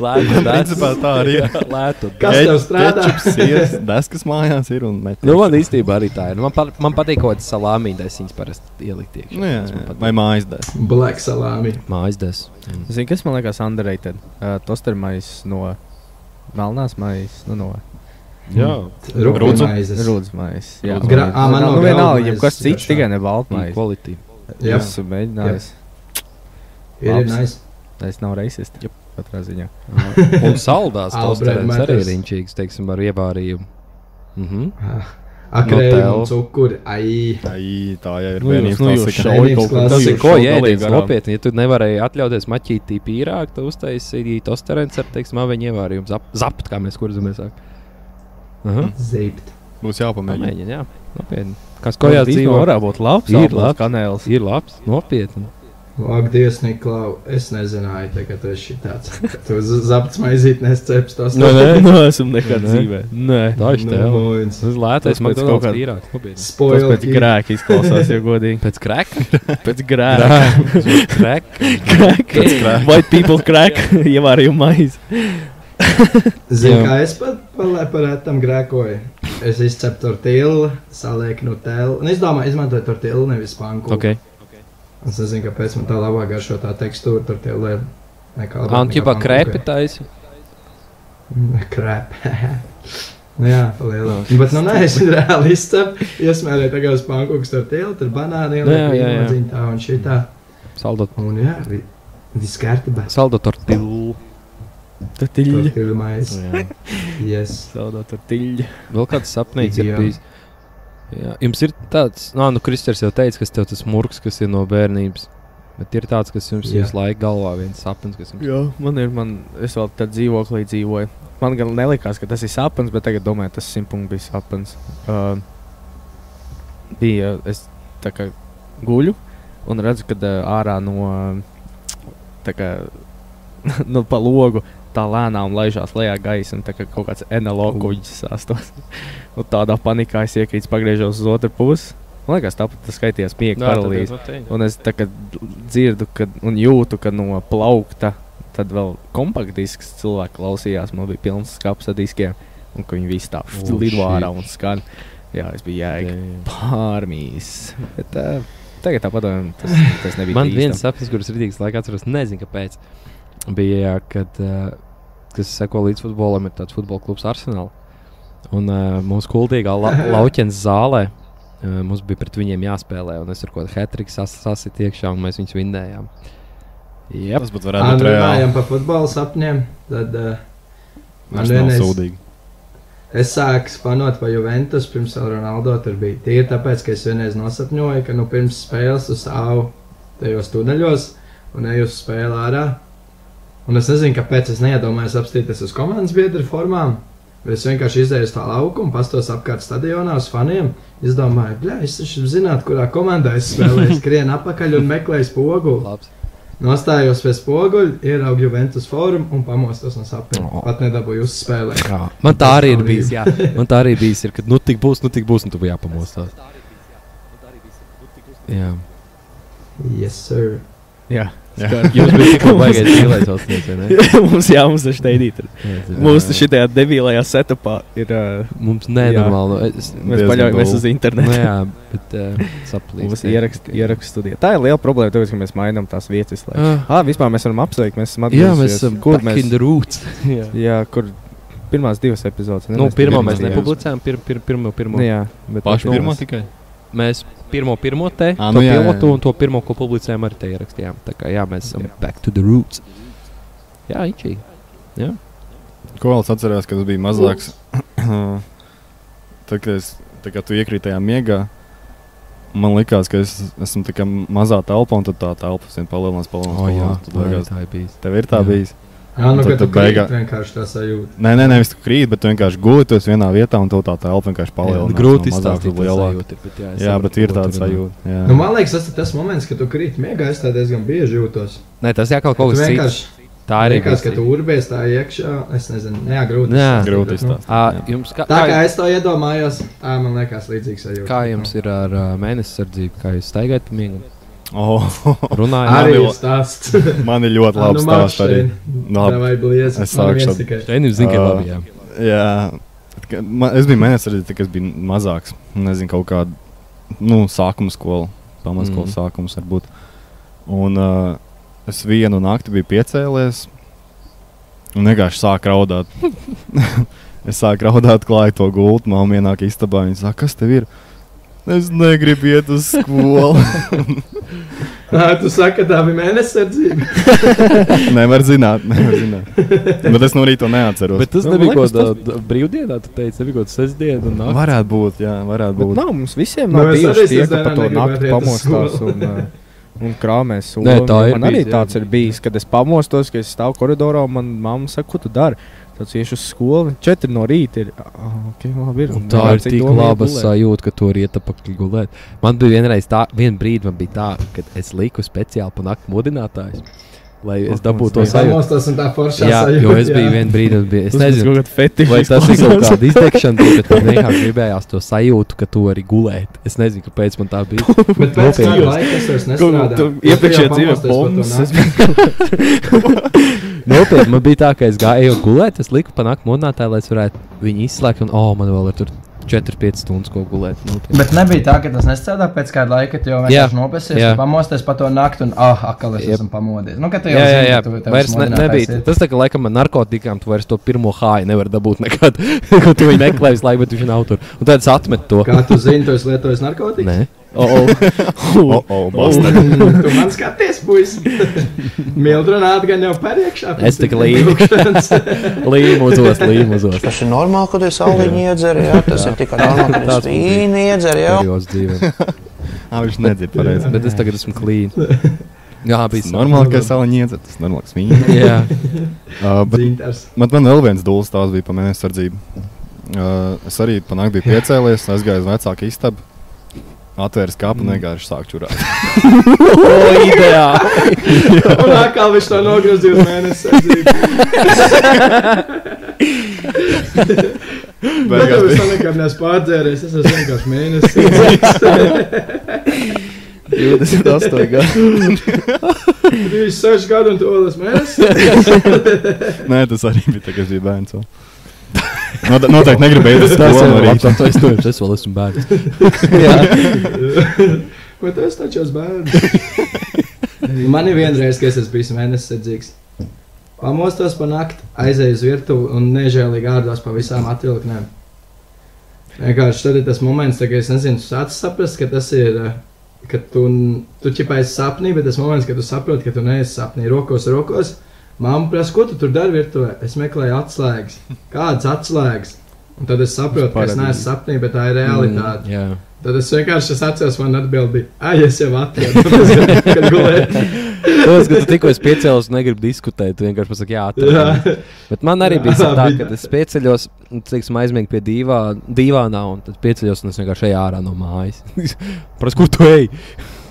B: Lētu,
F: Principā tā arī ir.
B: Lētu.
D: Kas
F: Ke-
D: tev strādā?
F: Kečups, sieras, deskas mājās ir un met.
B: Nu, man īstenībā arī tā ir. Nu, Man, pa, man patīk, ko tas salāmītais viņas parasti ielikt iekšā.
F: Nu, jā,
B: Tas man
F: jā.
B: patīk.
F: Vai mājas dēļ?
D: Black salāmi.
B: Mājas des.
A: Zini, kas man liekas underrated? Uh, Tostermais no melnās maizes, nu, no
F: Jā, Rūdzu.
D: Rūpīmaizes.
A: rūdas maizes. Jā,
F: Rūdzu
D: Gra- ā, man
A: Nu,
D: nav
A: nu, vienalga,
D: graudu
A: ja kas
D: maizes
A: cits,
D: vienkārši.
A: tikai ne balta maize.
B: Kvalitāte.
D: Jā,
A: Es esmu mēģinājis.
D: ir
A: labs.
D: nice.
A: Es nav reisists. Katrā ziņā.
B: Un saldās
D: Albrēm
B: tosterēns arī
D: metas.
B: ir riņķīgs, teiksim, ar iebārījumu. Mhm.
D: Akrēļa
B: Nutella.
D: un cukuri. Ai,
F: tā ir. Tā jau ir
A: Nu, jūs-
F: vienības
A: nu, jūs
F: klasika.
D: šaujat
F: Vienības
D: kaut ko-
B: Tas
D: Nu,
B: ir
D: jūs
B: ko
A: šo
B: jēdziens
A: dalību garām.
B: nopietni. Ja tu nevarēji atļauties maķīt īrāk, tad uztaisīji to starēnu ar, teiksim, aveņu ievārījumu. Zap, zapt, kā mēs kurzamies. Aha,
D: zipt.
F: Būs jāpamēģina.
B: pamēģini, jā. Nopietni. Kas kojā dzīvo?
A: varētu būt labs.
B: Ir
A: Ir labs
B: labs.
A: kanēls.
B: Ir labs, nopietni.
D: Ak, Dievs, Niklau, es nezināju, te, ka tu esi tāds. Tu z- zapts maizīt nesceps tos.
A: nē, Nu, esmu nekad
B: Nē.
A: dzīvē. Nē.
B: Daži
D: Nu,
B: tev.
D: Noins.
B: Nu, Tas lētais
A: Tas
B: man
A: pēc
B: kaut
A: kaut
B: kā
A: kā-
B: īrāk. nopietni.
A: Tas
D: Spoil.
A: pēc grēka izklausās, ja godīgi.
B: Pēc krēka?
A: Pēc grēka.
B: Krēka.
A: Krēka. White people crack. Ievārījuma maize.
D: Zini,
B: Jā.
D: kā es pat palēparētu tam grēkoju. Es izcepu tortillu, salieku nutellu. Un es domāju, izmantoju tortillu, nevis panku.
B: Ok.
D: Es nezinu, kāpēc man tā labāk garšo tā tekstūra tortillē. Nekā labāk.
B: Un
D: nekā
B: ķipā
D: pankukai.
B: krēpi taisi.
D: Krēpē. Nu jā, lielā. Bet, nu, nē, es reāli izcepu. Iesmērēju tagad uz pankūku tortillu, tur banāni,
B: Nu jā, jā, jā.
D: lielā tā un šitā.
B: Saldo.
D: Un jā, vi- viss kārtībā.
B: Saldo tortillu.
A: Tad tiļļa.
D: Tortillu maize.
B: Nu
D: Yes.
A: Saudā tur tiļļa.
B: Vēl kāds sapnīgs ir
D: Jā.
B: bijis. Jā. Jums ir tāds, nā, nu, Kristers jau teica, kas tev tas murgs, kas ir no bērnības. Bet ir tāds, kas jums
D: Jā.
B: visu laiku galvā viens sapnis, kas jums ir.
A: Jā, man ir, man, es vēl tad dzīvoklī dzīvoju. Man gan nelikās, ka tas ir sapnis, bet tagad domāju, tas simtpunkts bija sapnis. Uh, bija, es tā kā guļu un redzu, ka uh, ārā no, ā, tā kā, no pa logu tā lēnām laižās lejā gaisa un tā kā kaut kāds enologu kuģis sāstos. un tādā panikā es iekrītu, pagriežos uz otru pusi. Man liekas, tāpat tas skaitījās miega paralīze. Un es tā kā dzirdu, ka, un jūtu, ka no plaukta tad vēl kompaktdisks cilvēks klausījās. Man bija pilns skats ar diskiem, un ka viņi visi tā
B: Oh,
A: lido
B: shit.
A: ārā un skan. Jā, es biju jēga pārmīs. Bet, uh, tagad tāpat um, tas, tas nebija.
B: Man
A: tik
B: viens
A: īstam.
B: sapnis, kurus rītīgs laikā atceros, nezinu, kāpēc. Bija, kad, ā, kas seko līdz futbolam, ir tāds futbola klubs Arsenal. Un ā, mūsu kuldīgā la lauķenes zālē ā, mums bija pret viņiem jāspēlē, un es ar ko hetriku sas sasitu iekšā, un mēs viņus vindējām. Jā,
F: Tas pat
D: Ā,
F: varētu
D: nu,
F: būt reāli.
D: Runājam par futbola sapņiem. Tad, uh, man
F: Tas nav
D: vienreiz-
F: sūdīgi.
D: Es sāku spanot par Juventus, pirms vēl Ronaldo tur bija. Tīri tāpēc, ka es vienreiz nosapņoju, ka nu pirms spēles uz savu tajos tuneļos un eju uz spēli ārā. Un es nezinu, kāpēc es neiedomājos apstīties uz komandas biedru formām. Bet es vienkārši izēju uz tā laukumu, pastos apkārt stadionā uz faniem. Es domāju, bļā, es taču zinātu, kurā komandā es spēlēju. Es skrienu apakaļ un meklēju spoguli.
B: labs.
D: Nostājos pie spoguļa, ieraugu Juventus formu un pamostos no sapņiem.
B: Oh.
D: Pat nedabūju uzspēlēt.
B: Jā. Man tā arī ir
D: Pastāvīgi.
B: bijusi. Jā. Man tā arī bijis, ir, kad nu tik būs, nu tik būs, un tu būsi jāpamostās. Jā,
D: Yes, sir.
A: Jā,
B: jums bija tikko baigais dzīvēs valstīs, vai ne?
A: mums jā, mums taču teidīt.
B: Jā, zinu.
A: Mūsu šitajā debilajā setupā ir. Uh,
B: Mums nenormāli. Es,
A: mēs
F: Diezgan
A: paļaujamies
F: tuvu.
A: uz
B: nu,
A: internetu.
B: jā, bet uh,
A: Mums
B: saplīst.
A: ierakst, ierakst studijā. Tā ir liela problēma, tāpēc, ka mēs mainām tās vietas. Lai...
B: Ah.
A: Ah, vispār mēs varam apsveikt, mēs esam
B: Jā,
A: atgriezušies.
B: mēs esam
A: kur mēs
B: in the roots. jā.
A: Jā, kur pirmās divas epizodes.
B: Nu, pirmā mēs
F: pirmā, jā.
B: nepublicējām, pir, pir, pirmo, pirmo.
A: Nu, jā, bet
F: Pašu
A: tad
F: pirmo
A: mēs-
F: tikai.
B: Mēs pirmo, pirmo te,
F: Ā,
B: to
F: nu jā,
B: pirmo
F: jā, jā.
B: to un to pirmo, ko publicējām, arī te ierakstījām. Tā kā jā, mēs esam back to the roots. Jā, ičī.
F: Ko vēl es atceros, kad es biju
D: Nu.
F: mazāks? Tad, kad es tā kā tu iekrītajā miegā, man liekas, ka es esmu tā kā mazā telpā, un tad tā telpa zin, palielinās, palielinās. palielinās tad
B: man arī
F: liekas,
B: tā ir bijis.
F: tev ir tā
B: Jā.
F: bijis.
D: Jā, nu,
F: Tad
D: ka
F: tu
D: tu beigā
F: beigā-
D: vienkārši tā sajūta.
F: Nē, nē, nevis tu krīt, bet tu vienkārši gulēties vienā vietā, un tev tā telpa vienkārši palielinās.
B: nu, grūti
F: no mazāk uz
B: izstāstīt,
F: lielāku.
B: sajūta, bet jā, es
F: Jā,
B: saprotu,
F: bet ir
B: ko tu
F: tāds
B: runā.
F: sajūta. Jā.
D: Nu, man liekas, tas ir tas moments, kad tu krīt miegā, es tā diezgan bieži jūtos.
B: Nē, tas jākal kaut
D: Tu
B: kas cits.
D: vienkārši
B: Tā arī
D: liekas, ka tu urbēs tā iekšā. Es nezinu, nu, jā, grūti.
B: Jā.
D: izstāstīt, bet,
F: Grūti
D: nu,
F: izstāstīt.
B: Uh, jums, kā,
D: Tā
B: kā,
D: kā es to iedomājos, tā man liekas līdzīga sajūta.
B: kā jums ir ar uh, mēnesi sardzību, kā jūs staigājat pa miegu?
F: Oh,
B: Runājāt,
D: Nu, Arī
F: Nabila.
D: stāsts.
F: man ir ļoti
D: nu,
F: labi stāsts arī. Labi.
D: Vai bliez?
F: Es sākšu
D: Man viens
F: tad.
D: tikai.
B: Šeit jūs zināt, ka
F: Ā.
B: labi. jā.
F: Jā, tad, kad ma- es biju mēnesis arī, tad, kad es biju mazāks. Nezinu, kaut kāda nu, sākuma skola, pamatskolas
B: Mhm.
F: mm. sākums varbūt. Un uh, es vienu nakti biju piecēlies un vienkārši sāku raudāt. es sāku raudāt, klāju to gultu, mamma ienāk istabā. Viņa saka, kas tev ir? Es negribu iet uz skolu.
D: Ā, Tu saki, ka tā bija mēnesardzība.
F: nevar zināt, nevar zināt. Bet es no rīta to neatceros.
B: Bet Ah. tas
A: Nu, man
B: nebija kaut
A: liekas,
B: kādā d- brīvdienā, tu teici, nebija kaut kāda sestdiena un naktis.
F: varētu būt, jā, varētu
A: Bet
F: būt.
A: nav mums visiem
D: Nu,
A: nav
D: es
A: bijuši
D: arī
A: tie, ka
D: sestdienā
A: pa to
D: negribētu
A: nakti
D: iet uz
A: pamostās
D: skolu.
A: un, uh, un krāmēs.
B: Nē,
A: soli.
B: tā ir
A: man arī
B: bijis, jā.
A: tāds ir bijis, kad es pamostos, ka es stāvu koridorā un man mamma saka, ko tu dari. Tad iešu uz skolu, 4 no rīta ir. "Ah, Okay, labi, ir.
B: Un
A: Un
B: tā ir
A: vienkārši
B: tik
A: domāju,
B: laba
A: gulēt.
B: sajūta, ka tur iet apakšā gulēt. Man bija vienreiz tā, viena brīdi man bija tā, ka es lieku speciāli pa nakti modinātājus, lai es
A: Ak,
B: dabūtu to
A: mans
D: Tā
B: sajūtu.
D: mostas un tā foršā
B: Jā,
D: sajūta.
B: jo es biju vienā brīdī, un bija, es
A: Tas ir
B: nezinu,
A: kaut kāds fetišs.
B: vai tas ir kaut kāda izteikšana, bet man vienkārši gribējās to sajūtu, ka tu arī gulēt. Es nezinu, kāpēc man tā bija.
D: Bet pēc tam
B: Nopietni.
D: laika es vairs
A: Tu
D: nestrādāju.
A: iepriekšējā dzīvē bombas.
B: Nopietni, man bija tā, ka es gāju gulēt, es liku panākt monētāju, lai es varētu viņu izslēgt, un, oh, man vēl ir tur 4-5 stundas, ko gulēt. nu, Nopietni.
D: Bet nebija tā, ka tas nestrādā pēc kāda laika, kad
B: Jā.
D: jau vienkārši nopesies,
B: Jā.
D: tu pamosties pa to nakti un, ah, akal es
B: Jep.
D: esmu pamodies. Nu, ka tu jau
B: Jā, jā,
D: zini,
B: jā.
D: ka tu tev
B: Vairs ne,
D: smodinātājs
B: nebija.
D: ir.
B: Tas tā kā laikam ar narkotikām, tu vairs to pirmo hāju nevar dabūt nekad. Ko tu viņu meklē visu laiku, bet viņš nav tur. Un tad es atmetu to.
D: Kā tu zini, tu esi lietojis narkotikas?
B: Nē,
F: Oh, oh, basta.
D: tu man skaties, puiši. Mildrunāt gan jau pariekšā.
B: Es tik līmūzos, līmūzos.
G: Tas ir normāli, kad es augļiņu iedzeru, jā, tas ir tikai normāli, kad
B: Tāds
G: es vīnu iedzeru, jā.
B: Periods dzīvē.
F: Ā, Viņš nedzird pareizi.
B: Bet es tagad esmu klīn. Jā, bija
F: Tas normāli, ka sāliņi iedzert, tas normāls viņa.
B: Jā,
F: Uh, bet
D: Dzintars.
F: man, man vēl viens dūlis tās bija pa mēnesi sardzību. Uh, es arī panāku biju piecēlies, aizgāju uz vecāku istabu, atvēru
B: Mm.
F: skāpu un vienkārši sāku čurāt.
B: o, ideā.
D: Un atkal viņš to nogrozījis mēnesi. Bet
F: Beigās
D: es
F: bija-
D: tam nekad neesmu pārdzēries, es esmu vienkārši mēnesis.
B: 28 gadi.
D: Viņš ir 6 gadu un tu vēl esi mēnesis.
F: Nē, tas arī bija tā, ka es biju bērns. vēl. Note- Noteikti negribēju to
B: Tas ir
F: no
B: labi,
F: rīta.
B: tā es to es vēl esmu bērns.
D: Bet es taču esmu bērns. Man ir vienreiz, ka es esmu bijis mēnesis sedzīgs. Pamostos pa nakti, aizēju uz virtuvi un nežēlīgi ārdos pa visām atvilknēm. Vienkārši tad ir tas moments, kad es nezinu, sāc saprast, ka tas ir, eh, ka tu, tu ķipā esi sapnī, bet tas moments, kad tu saproti, ka tu neesi sapnī, rokos rokos. Māma prasa, ko tu tur dari virtuvē? Es meklēju atslēgas. Kādas atslēgas? Un tad es saprotu, ka es neesmu sapnī, bet tā ir realitāte.
B: Jā.
D: Tad es vienkārši es atceros, man atbildēja, ah, es jau atradu, kad gulēju.
B: Tas, ka tu tikko esi piecēlies un negribi diskutēt, tu vienkārši pasaki, jā, tā ir. Bet man arī
D: Jā,
B: bija tā,
D: bija
B: ka es pieceļos, nu, teiksim, aizmiegu pie divā, divānā, un tad pieceļos un es vienkārši eju ārā no mājas. Prasa, kur tu ej?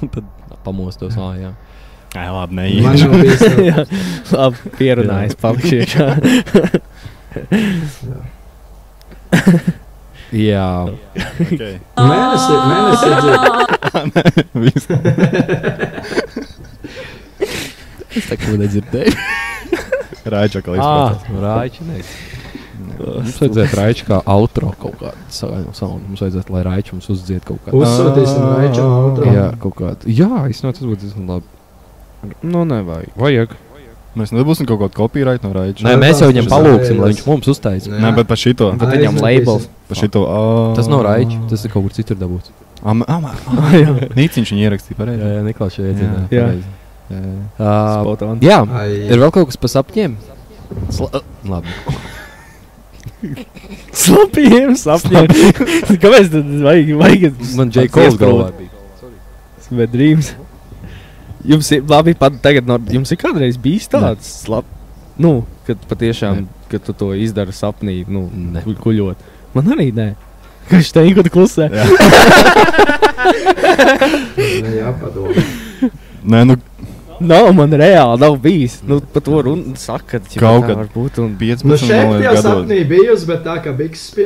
B: Un tad pamostos ājā.
F: Ai, labi,
D: Man
F: neiet.
D: nav bijis tā.
A: Labi, pierunājis, palikšu.
B: Jā,
F: Okay.
D: Mēnesi, mēnesi dzīvo.
F: Viss.
B: es tā kā nedzirdēju.
F: Raidža kā
B: Ah,
F: līdz.
B: rāķinieks. Mums vajadzētu rāķi kā outro kaut kādu savu savu. Mums vajadzētu, lai rāķi mums uzdzied kaut kādu.
D: Uzsūtīsim
A: Ah,
D: raiču un otru.
B: Jā, kaut kādu. Jā, īstenībā tas būtu diezgan labi.
A: Nu, nevajag.
B: Vajag.
F: Mēs nebūsim kaut kādu kopīraitu no raidža.
B: Nē, mēs jau viņam
D: Tas
B: palūksim, lai
D: ir-
B: viņš mums uztaisītu.
F: Nē, bet par šito.
A: Bet viņam labels.
F: Par šito. ā.
B: Tas nav raiķis, tas ir kaut kur citur dabūts.
F: Am- am- am- Nīciņš viņu ierakstīja pareizi.
B: Jā, Niklaus, šeit
F: Jā,
B: ir.
A: Jā.
F: pareizi. Jā, jā.
A: Spot on.
B: Jā, ir
D: Ai,
B: vēl kaut kas par sapņiem? Sla labi.
A: Slapjiem sapņiem. Kāpēc tad vajag? vajag
B: Man J. Cole galvā bija.
A: bet drīz. Jums ir labi, pat tagad, no, jums ir kādreiz bijis tāds slabs, nu, kad patiešām,
B: Ne.
A: kad tu to izdari sapnī, nu,
B: Ne.
A: gu- guļot. Man arī nē. Kas te ir, kad klusē?
F: Jā.
D: Nu, Jā, padomā.
F: Nē, nu,
A: Nav, man reāli nav bijis. Nu, pat to runu saka, ka
F: Kaut kad.
A: var būt. Un...
F: 15
D: Nu, šeit
F: man
D: jau
F: liekas, gados.
D: sapnī bijusi, bet tā kā bikses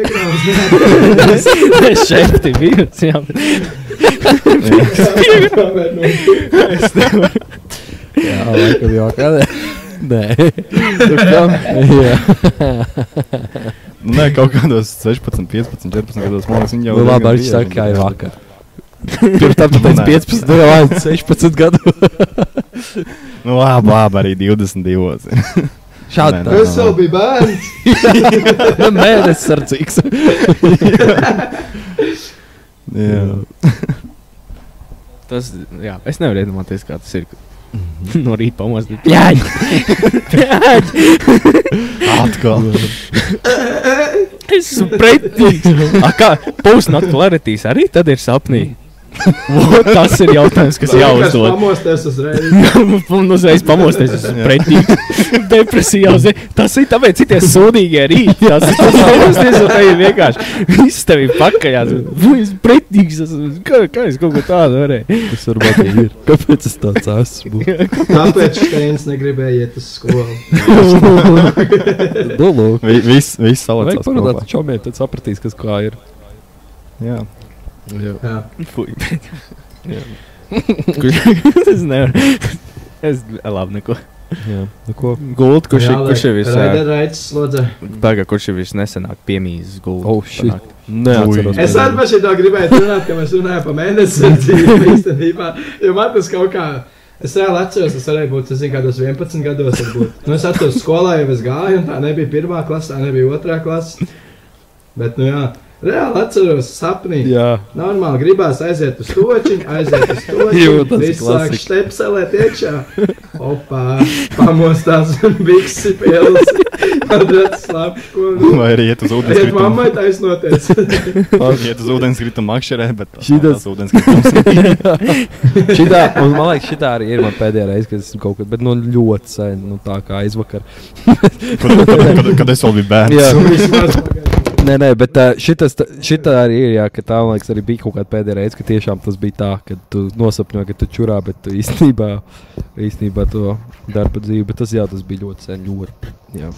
D: piekrāvis.
A: šeit ir bijis, jā.
D: Piekrāvis.
B: Jā, laikam jau kādā. Nē,
F: Nu, Nē, kaut kādos 16, 15, 14 gados. Man liekas, viņi jau
B: jau Nu, labi,
F: diezgan
B: arī saka,
F: bieži,
B: ka ir
F: bet-
B: vakar. Pirms tam pēc
F: Nē.
B: 15, nu, jau 16 gadu.
F: Nu, labi, labi, arī 22.
B: Šādi tā.
F: Nē, nē.
D: Es vēl biju bērns.
B: Nu, Mēnesis sardzīgs.
F: Jā.
A: Tas, jā, es nevaru iedomāties, kā tas ir. no rīta pamostas.
B: Jā,
F: Atkal.
A: Es esmu pretīgs. Kā pusnakts klaritīs arī tad ir sapnī? Vot tas ir jautājums, kas jāuzdod.
D: Pamosties uzreiz.
A: Un uzreiz pamosties, es esmu pretīgs. Depresijā uzreiz. Tas ir tāpēc, ka tie sūdīgie rīti. Tas ir tas pamosties, un tev ir vienkārši. Viss tev ir pakaļās. "Nu, Es esmu pretīgs. es esmu- Kā, kā es kaut ko tādu varēju?
B: tas varbūt ir. Kāpēc es tāds esmu?
D: Tāpēc Steins negribēja iet uz skolu.
B: Nu, lūk.
F: Vi- Viss vis
B: Vajag
F: salicās.
B: parunāt ar
F: kopā.
B: čomiem, tad sapratīs, kas kā ir.
F: Jā.
B: Jā.
D: Jā.
A: Es nevaru. Es labi neko.
B: Jā. Nu, ko?
A: Gulti, kurš ir kurš ir
D: Raida
A: visai?
D: Raids slodze.
A: Tagad, kurš ir visnesenāk piemīzis gulti?
B: Oh, shit.
A: Sanāk.
B: Neatceros.
D: Es arī par šito gribēju runāt, ka mēs runājam par mēnesi dzīvi īstenībā. Jo man tas kaut kā. Es reāli atceros, es varēju būt, es zinu, kādos 11 gados varbūt. Nu, es atceros, skolā jau es gāju, un tā nebija pirmā klasa, tā nebija otrā klasa. Bet, nu jā, reāli atceros sapnī.
B: Jā.
D: Normāli gribās aiziet uz toķiņu, aiziet uz toķiņu.
B: Jūtas
D: Viss sāk
B: klasika.
D: stepselēt iekšā. Opa, pamostās un biksi pielas. Padrat slāp, ko nu.
F: Vai arī iet uz
D: Aiziet
F: ūdenskrituma
D: mammai taisnoties.
F: iet uz ūdenskrituma makšķerē, bet
B: Šī tas-
F: tas ūdenskritums.
B: šitā, un, man liekas, šī arī ir mana pēdējā reize, kad esmu kaut kad, bet nu, ļoti sen, nu, tā kā aizvakar.
F: Kad, kad, kad, kad es vēl biju bērns.
B: Jā.
D: Un vismaz pagaidām.
B: Nē, nē, bet ā, šitas, ta- šitā arī ir, jā, ka tā, man liekas, arī bija kaut kāda pēdējā reize, ka tiešām tas bija tā, ka tu nosapņo, ka tu čurā, bet tu īstenībā, īstenībā to dari pa dzīvi, bet tas, jā, tas bija ļoti sen, ļoti, jā.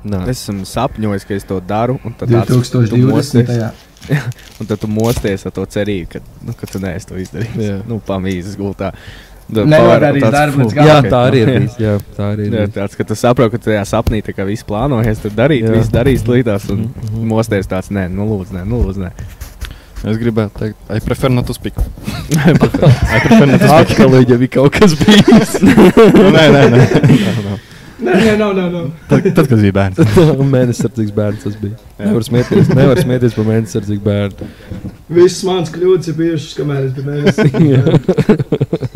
B: Nā, es...
A: Es esmu sapņojis, ka es to daru, un tad tāds- tu
D: 2020.
A: mosties, un tad tu mosties ar to cerību, ka, nu, ka tu neesi to izdarījis.
B: Jā.
A: Nu, pamīzes gultā. Tad
D: Nedarīs
A: pavēr un tāds,
D: darbu
A: "Fu,
D: līdz
B: jā,
D: galam."
B: tā arī ir, bijis, jā, tā arī ir.
A: Jā,
B: bijis.
A: tāds, ka tu saproti, ka tajā sapnī tā kā viss plānojas, tur darīt,
B: Jā. Mhm,
A: viss darīs līdās, un mosties tāds, nē, nu lūdzu, nē, nu lūdzu, nē.
F: Es gribēju teikt, I prefer not to speak. I prefer not to speak.
B: Atkal viņam bija kaut kas bijis.
F: Nu, nē, nē, nē. nē, nē.
D: Nē, nē, nē, nē, nē.
F: Tad, tad, kad biju bērns.
B: Mēnesis sardzīgs bērns tas bija.
F: Jā.
B: Nevar smieties, nevar smieties par mēnesis sardzīgu bērnu.
D: Viss mans kļūdas ir bijušas, kamēr es biju
B: Jā.
D: mēnesis.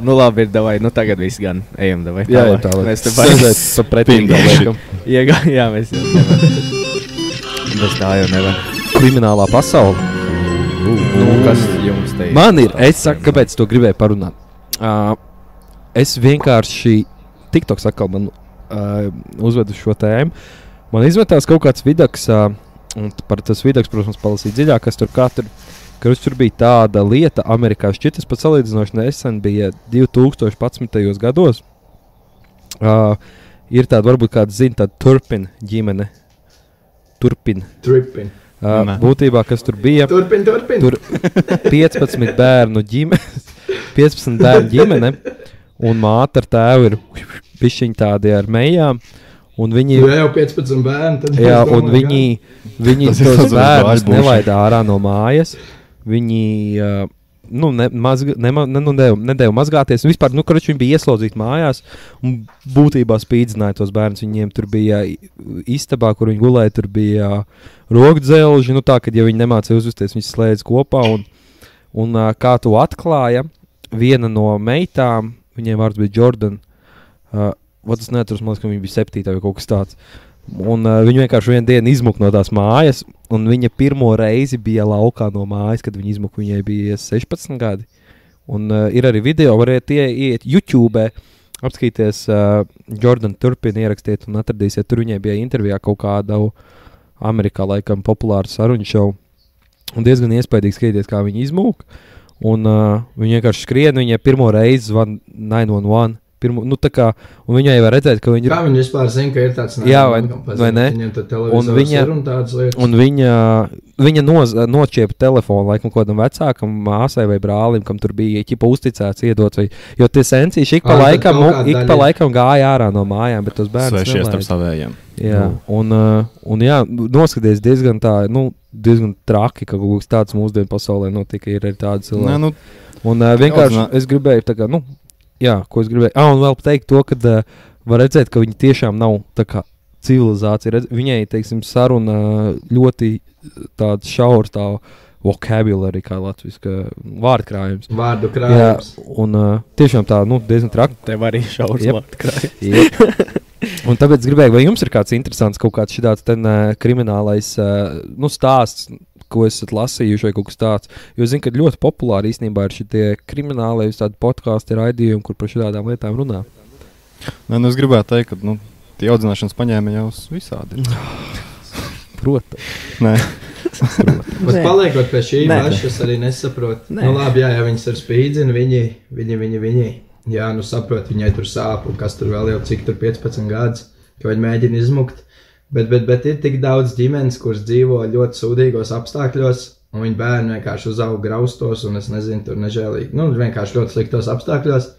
A: Nu labi, ir davai, nu tagad viss gan, ejam davai.
B: Jā, jā,
A: tālāk.
B: tā lai
A: Mēs te
B: sēdēt
A: vairs
B: pa pretīgā
F: Pindīši.
B: laikam.
A: iegā, jā, mēs jau nevaram. Bez tā jau nevar.
B: Kriminālā pasaule.
A: Nu, kas jums te ir?
B: Man ir, es saku, kāpēc to gribēju parunāt. Uh, es vienkārši, TikToks atkal man uh, uzvedu šo tēmu. Man izmetās kaut kāds vidaks, uh, un t- par tas vidaks, protams, palasīja dziļāk, kas tur katru. Kurš tur bija tāda lieta, Amerikā šķiet, tas pats salīdzinoši nesen bija 2011. gados. Uh, ir tāda, varbūt kāda zina, tāda turpina ģimene. Turpina.
D: Trippin.
B: Uh,
F: Nē.
B: būtībā, kas tur bija?
D: Turpin, turpin.
B: Tur 15 bērnu ģimene, 15 bērnu ģimene un māte ar tēvu ir pišķiņi tādi ar mejām. Un viņi,
D: Ja jau 15 bērni, tad
B: jā,
D: es
B: un
D: domāju,
B: viņi, viņi
F: Tas ir
B: tos
F: tāds
B: bērnus
F: vaibošs.
B: nelaid ārā no mājas. Viņi, ā, nu, ne, mazga, ne, ma- ne, nu, nedēļu, nedēļu mazgāties. Un vispār, nu, kurš viņi bija ieslodzīti mājās, un būtībā spīdzināja tos bērnus. Viņiem tur bija i- istabā, kur viņi gulēja, tur bija rokdzelži. Nu, tā, kad ja viņi nemācīja uzvesties, viņi slēdz kopā. Un, un ā, kā to atklāja, viena no meitām, viņiem vārds bija Jordan. Uh, Vats neatceros, man liekas, ka viņi bija septītā vai kaut kas tāds. Un, uh, viņa vienkārši vienā dienā izmuka no tās mājas, un viņa pirmo reizi bija laukā no mājas, kad viņa izmuka. Viņai bija 16 gadi. Un, uh, ir arī video, varētu iet YouTube, apskatīties, uh, Jordana turpina ierakstīt, un atradīsiet, tur viņai bija intervijā kaut kāda Amerikā, laikam, populāra sarunu šovu. Un diezgan iespaidīgi skatīties, kā viņi izmuka. Un, uh, viņa vienkārši skrien, viņa pirmo reizi zvanīja 911. Pirmo, nu, tā kā, un viņai var redzēt, ka viņa ir
D: Kā viņi vispār zina, ka ir tāds
B: Jā, vai-
D: nākamais,
B: vai ne?
D: Viņiem tur
B: Un
D: televizors
B: viņa-
D: ir un tādas lietas.
B: Un viņa, viņa noz, noķēra telefonu laikam kaut kādam vecākam, māsai vai brālim, kam tur bija ķipa uzticēts, iedots. Vai, jo tie sensīši ik pa,
D: Ah, tad
B: laikam,
D: kaut kāda
B: ik pa
D: daļa.
B: laikam gāja ārā no mājām, bet tos bērnus nelaiž.
F: Svešies starp savējiem.
B: Jā, un, uh, un jā, noskaties diezgan tā, nu, diezgan traki, ka kaut kas tāds mūsdienu pasaulē notika. Ir arī tādi cilvēki.
F: Nē, nu,
B: Un uh, vienkārši
F: Daudz,
B: es gribēju, tā kā, nu, jā, ko es gribēju. Ah, un vēl pateikt to, ka uh, var redzēt, ka viņi tiešām nav tā kā civilizācija. Redz, viņai, teiksim, saruna ļoti tāds šaurs, tā vokabulāri, kā latvijas vārdkrājums.
D: Vārdu
B: Jā,
D: krājums.
B: un uh, tiešām tā, nu, diezgan traki.
A: Tev arī šaurs
B: Jep.
A: vārds krājums.
B: un tāpēc gribēju, vai jums ir kāds interesants, kaut kāds šāds uh, kriminālais uh, nu, stāsts, ko esat lasījuši, vai kaut kas tāds. Jo zinu, ka ļoti populāri īstenībā ir šie kriminālie podkāstu raidījumi, kur par šādām lietām runā.
F: nē, nu, es gribēju teikt, ka nu, tie audzināšanas paņēmieni jau visādi ir.
B: Protams,
F: Nē,
D: Bet
E: Nē.
D: paliekot pie šī
E: Nē.
D: paša, es arī nesaprotu.
E: Nē.
D: Nu, labi, jā, ja viņas ir spīdzini, viņi, viņi, viņi, viņi. Jā, nu saprotu, viņai tur sāp, un kas tur vēl jau cik tur 15 gadus, ka viņi mēģina izmukt. Bet, bet, bet ir tik daudz ģimenes, kuras dzīvo ļoti sūdīgos apstākļos, un viņu bērni vienkārši uzauga graustos, un es nezinu, tur nežēlīgi. Nu, vienkārši ļoti sliktos apstākļos.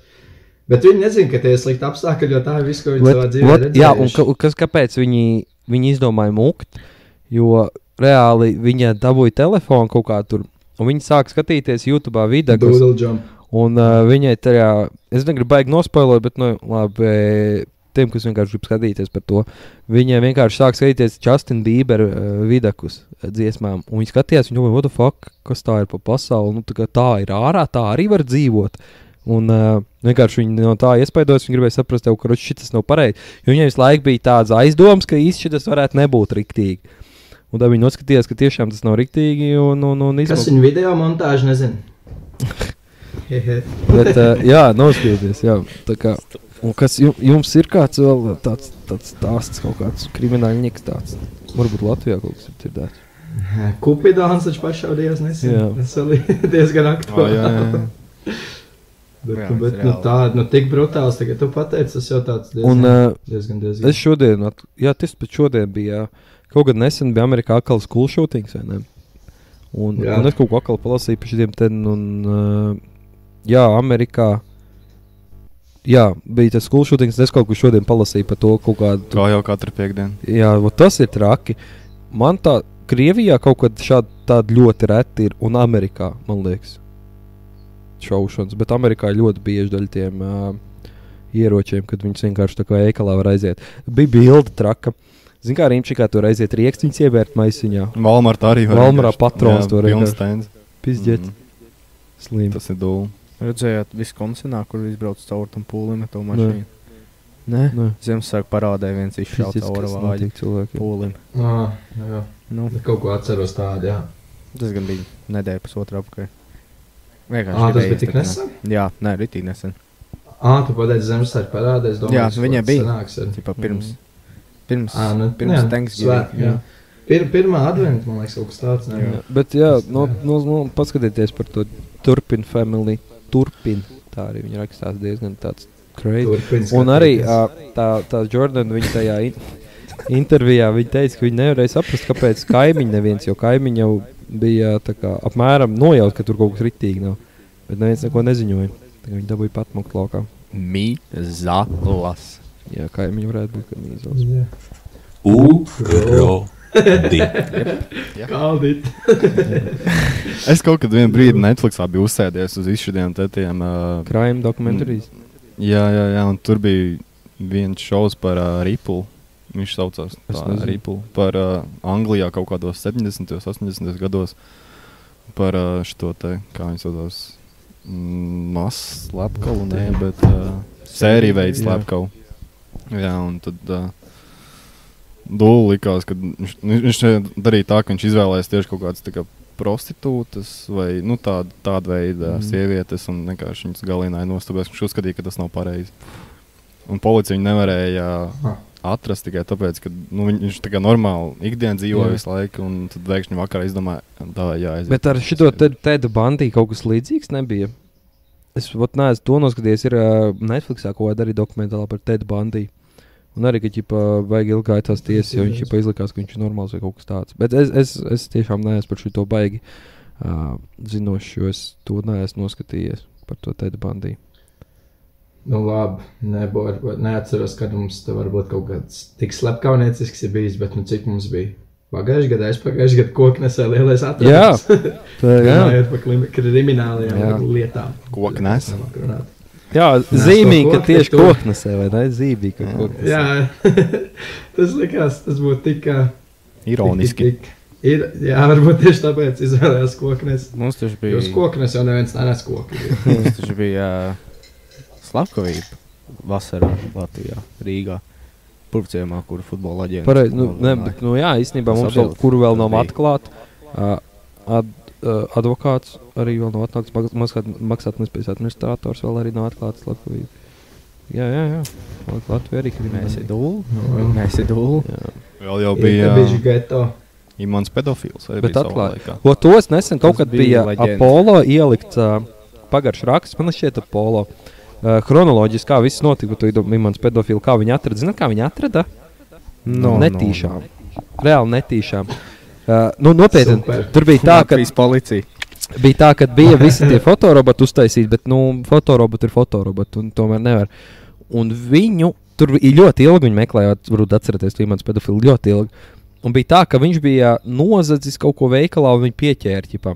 D: Bet viņi nezina, ka tie ir slikti apstākļi, jo tā ir viss, ko viņi savā dzīvē
B: Vat-
D: redz.
B: jā, un ka, kas, kāpēc viņi, viņi izdomāja mūkt? Jo reāli viņa dabūja telefonu kaut kā tur. Un viņi sāk skatīties YouTube video, kas
D: Doodle jump.
B: Un uh, viņai tajā, es negribu baigi nospoilot, bet, nu, labi, eh, tiem, kas vienkārši grib skatīties par to, viņai vienkārši sāk skatīties Justina Bībera uh, vidakus eh, dziesmām. Un viņi skatījās, viņi domāja, what the fuck, kas tā ir pa pasauli, nu, tā, kā tā ir ārā, tā arī var dzīvot. Un uh, vienkārši viņi no tā iespaidojas, viņi gribēja saprast, tev, ka šis nav pareizi. Jo viņai visu laiku bija tāds aizdoms, ka īsti šis varētu nebūt riktīgi. Un tad viņi noskatījās, ka tiešām tas nav riktīgi un, un, un
D: Kas
B: izmantoja.
D: viņa video montāžu nezina? Hehe.
B: Bet, uh, jā, noskaties, jā. tā kā. Un kas ju- jums ir kāds vēl tāds, tāds stāsts, kaut kāds kriminālnieks tāds? Varbūt Latvijā kaut kas ir dzirdēts.
D: Kupidons taču pašaudījās nesen.
B: Jā.
D: Tas vēl ir diezgan
F: oh,
D: aktuāli.
F: jā, jā, jā.
D: Bet,
F: Jā,
D: nu, bet nu,
F: reāli.
D: tāda, nu, tik brutāls, tagad tu pateici, tas jau tāds diezgan,
B: Un, uh,
D: diezgan, diezgan.
B: es šodien, at, jā, tas pat šodien bija, kaut kad nesen bija Amerikā atkal skolu šūtings, vai ne? Un,
D: Jā.
B: un es kaut ko atkal palasīju par šiem ten, un uh, jā, Amerikā. Jā, bija tas skolu šūtings, un es kaut ko šodien palasīju par to kaut kādu
F: Kā jau katru piekdienu.
B: Jā, vot tas ir traki. Man tā Krievijā kaut kad šādi tādi ļoti reti ir, un Amerikā, man liekas, šaušanas. Bet Amerikā ir ļoti bieži daļa tiem uh, ieročiem, kad viņas vienkārši tā kā ēkalā var aiziet. Bija bilde traka. Ziniet, kā Rīgčikā tur aiziet rieksts, viņas ievērt maisiņā.
F: Valmarta arī var.
B: Valmarā patrons to
F: to
B: arī
F: arī.
B: vienkārši- Pizdiet,
F: Mhm.
B: mm. slimīgi.
F: Tas ir dūli.
A: Redzējāt, Viskonsinā, kur izbrauc caur tam pūlim ar to
B: Nē.
A: mašīnu. Nē, Ziemassvētku parādē viens izšauts
B: Nu, Pizdiet,
A: caur
B: kas
A: vāju
B: notiek cilvēkiem.
A: pūlim.
D: Ā, nu jā,
A: Nu,
D: nu, kaut ko atceros tādu, jā.
A: tas gan bija nedēļa pusotra apakaļ. Vienkārši
D: Ā, tas
A: idejas
D: bija tik
A: tā kā-
D: nesen?
A: Jā, nē, ritīgi nesen.
D: Ā, tu pateici Zemesvētku parādē, es domāju,
A: Jā,
D: tas
A: viņai
D: kaut
A: bija.
D: kas sanāks ar-
B: Mm.
A: Tipā pirms. Pirms.
D: Ā, nu,
A: Pirms
D: jā, svēt, jā.
A: Thanksgiving.
D: Pir, pirmā adventa, man liekas, kaut kas tāds,
B: Jā.
D: ne?
B: Bet, jā, no, no, no, paskatieties par to turpinu family. Turpin. Tā arī viņa rakstās diezgan tāds crazy.
D: Turpins.
B: Un arī ā, tā, tā Jordana, viņa tajā in intervijā viņa teica, ka viņa nevarēja saprast, kāpēc kaimiņš neviens, jo kaimiņš jau bija tā kā, apmēram nojaust, ka tur kaut kas riktīgi nav. Bet neviens neko neziņoja. Tā kā Viņa dabūja pat mukt laukā.
A: Mizalas.
B: Jā, kaimiņš varētu būt gan izvēlēts.
D: Jā.
J: Uro.
D: Kaldīt.
F: Es kaut kad vienā brīdī Netflixā biju uzsēdies uz izšķirtiem tētiem. Uh,
B: Krājuma dokumentārijas.
F: jā, jā, jā, un tur bija viens šovs par uh, Ripple. Viņš saucās
B: Es
F: tā,
B: nezinu.
F: Ripple. Par uh, Anglijā kaut kādos 70. un 80. gados. Par uh, šo te, kā viņi saucās, masu slepkavu, nē, bet uh, sēriju veidu
B: Jā.
F: slepkavu. Jā, un tad. Uh, Dūlis likās, ka viņš, viņš darīja tā, ka viņš izvēlējās tieši kaut kādas tā kā, prostitūtas vai nu, tāda, tāda veida
B: Mm.
F: mm. sievietes, un vienkārši viņas galīgi nostūpēs. Viņš uzskatīja, ka tas nav pareizi. Un policija viņu nevarēja
D: Ah.
F: atrast tikai tāpēc, ka nu, viņ, viņš tā kā normāli ikdienas dzīvo
B: Jā.
F: visu laiku, un tad pēkšņi vakarā izdomāja, tā jāaiziet.
B: Bet ar šo tēdu bandīju kaut kas līdzīgs nebija. Es pat neesmu to noskatījies. Ir uh, Netflix kaut kāda arī dokumentāla par tēdu bandīju. Un arī, ka ķipa, vajag ilgi gāja tās tiesas, jo viņš jau izlikās, ka viņš ir normāls vai kaut kas tāds. Bet es, es, es tiešām neesmu par šo baigi uh, zinošs, jo es to neesmu noskatījies par to tēdu bandīju.
D: Nu, labi, nebo, varbūt neatceros, kad mums tur varbūt kaut kāds tik slepkavniecisks ir bijis, bet nu cik mums bija. Pagājušajā gadā, aizpagājušajā gadā koknesē lielais atrasts.
B: tā jā.
D: Runājot par klim- kriminālajām
B: Jā.
D: lietām.
F: Koknes?
D: Labāk runāt.
B: Jā,
D: Nē,
B: zīmīgi,
D: to
B: ka
D: kokni
B: tieši
D: tu-
B: koknesē vai ne? Zīmīgi, ka koknesē.
D: Jā, tas likās, tas būtu tik. ā,
F: Ironiski.
D: Tik, tik, tik. Ir, jā, varbūt tieši tāpēc izvēlējās koknes.
A: Mums taču bija.
D: Jo uz koknes jau neviens nenes koku.
A: Mums taču bija slepkavība vasarā Latvijā, Rīgā. Purvciemā, kur futbola aģents.
B: Pareizi, nu, ne, bet, nu, jā, īstenībā mums vēl,
A: Saprotu.
B: kuru vēl nav
A: Bija.
B: atklāta, uh, ad, uh, advokāts arī vēl nav atklāts, maks- maksāt, maksātnespējas administrators vēl arī nav atklāts Latvijā. Jā, jā, jā. Lat- Latvija arī
A: Mēs
B: krimināli.
A: esam dūli.
D: Nu,
A: Mēs esam dūli.
F: Vēl jau
D: bija
F: bija
D: bijuši geto.
F: imants pedofils. vai
B: Bet
F: bija savā
B: atklāja.
F: laikā?
B: O, tos nesen kaut
A: Tas
B: kad
A: bija
B: bija
A: leģenda.
B: Apollo ielikts uh, pagaršs raksts, man šķiet Apollo. Uh, Kronoloģiski, kā viss notika, tu domā, mans pedofils, kā viņi atrada, zini, kā viņi atrada?
A: No,
B: netīšām. Reāli netīšām. Uh, nu, nopietni,
D: Super.
B: tur bija tā, ka
A: Latvijas policija.
B: bija tā, ka bija visi tie fotoroboti uztaisīti, bet nu, fotoroboti ir fotoroboti un tomēr nevar. Un viņu tur bija ļoti ilgi viņi meklēja, varbūt atcerieties, bija mans pedofils ļoti ilgi. Un bija tā, ka viņš bija nozadzis kaut ko veikalā un viņa pieķēra ķipā.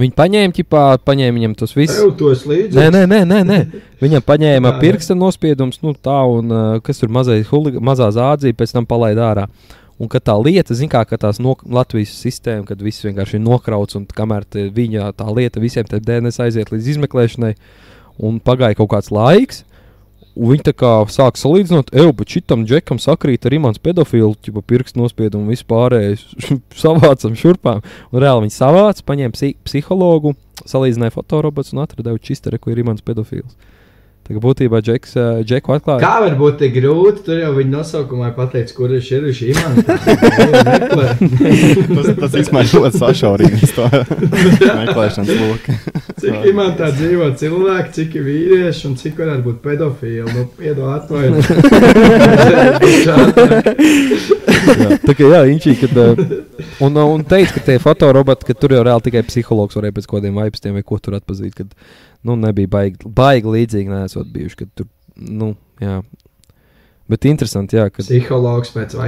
B: Viņi paņēma ķipā, paņēma viņam tos visus.
D: Tev tos līdzi.
B: Nē, nē, nē, nē, nē. Viņam paņēma
D: Tā, jā.
B: pirksta nospiedumus, nu tā, un uh, kas tur mazais huligā- mazā zādzīja, pēc tam palaida ārā. Un ka tā lieta, zin kā, ka tās no Latvijas sistēma, kad viss vienkārši ir nokrauts, un kamēr te viņa tā lieta visiem te DNS aiziet līdz izmeklēšanai, un pagāja kaut kāds laiks, un viņi tā kā sāk salīdzināt, eju, bet šitam džekam sakrīt ar imants pedofilu, ķipa pirkstu nospiedumu un vispārējais savācam šurpām. Un reāli viņi savāca, paņēma psi psihologu, salīdzināja fotorobots un atrada, ka šis te reku ir imants pedofils. Tā kā būtībā džeks, eh, džeku atklāja.
D: Kā var būt tik grūti? Tur jau viņa nosaukumā pateica, kurš ir šis imants.
F: tas, tas īstenībā ļoti sašaurīgs to meklēšanas lokus.
D: Cik imantā dzīvo cilvēki, cik ir vīrieši un cik varētu būt pedofili. Nu, piedod atvainojumu.
B: tā kā jā, inčīgi, kad, eh, un, eh, un teica, ka tie fotoroboti, ka tur jau reāli tikai psihologs varēja pēc kaut kādiem vaipstiem vai ko tur atpazīt, kad, nu, nebija baigi, baigi līdzīgi nesot bijuši, kad tur, nu, jā. Bet interesanti, jā, kad.
D: Psihologs pēc
B: Nu,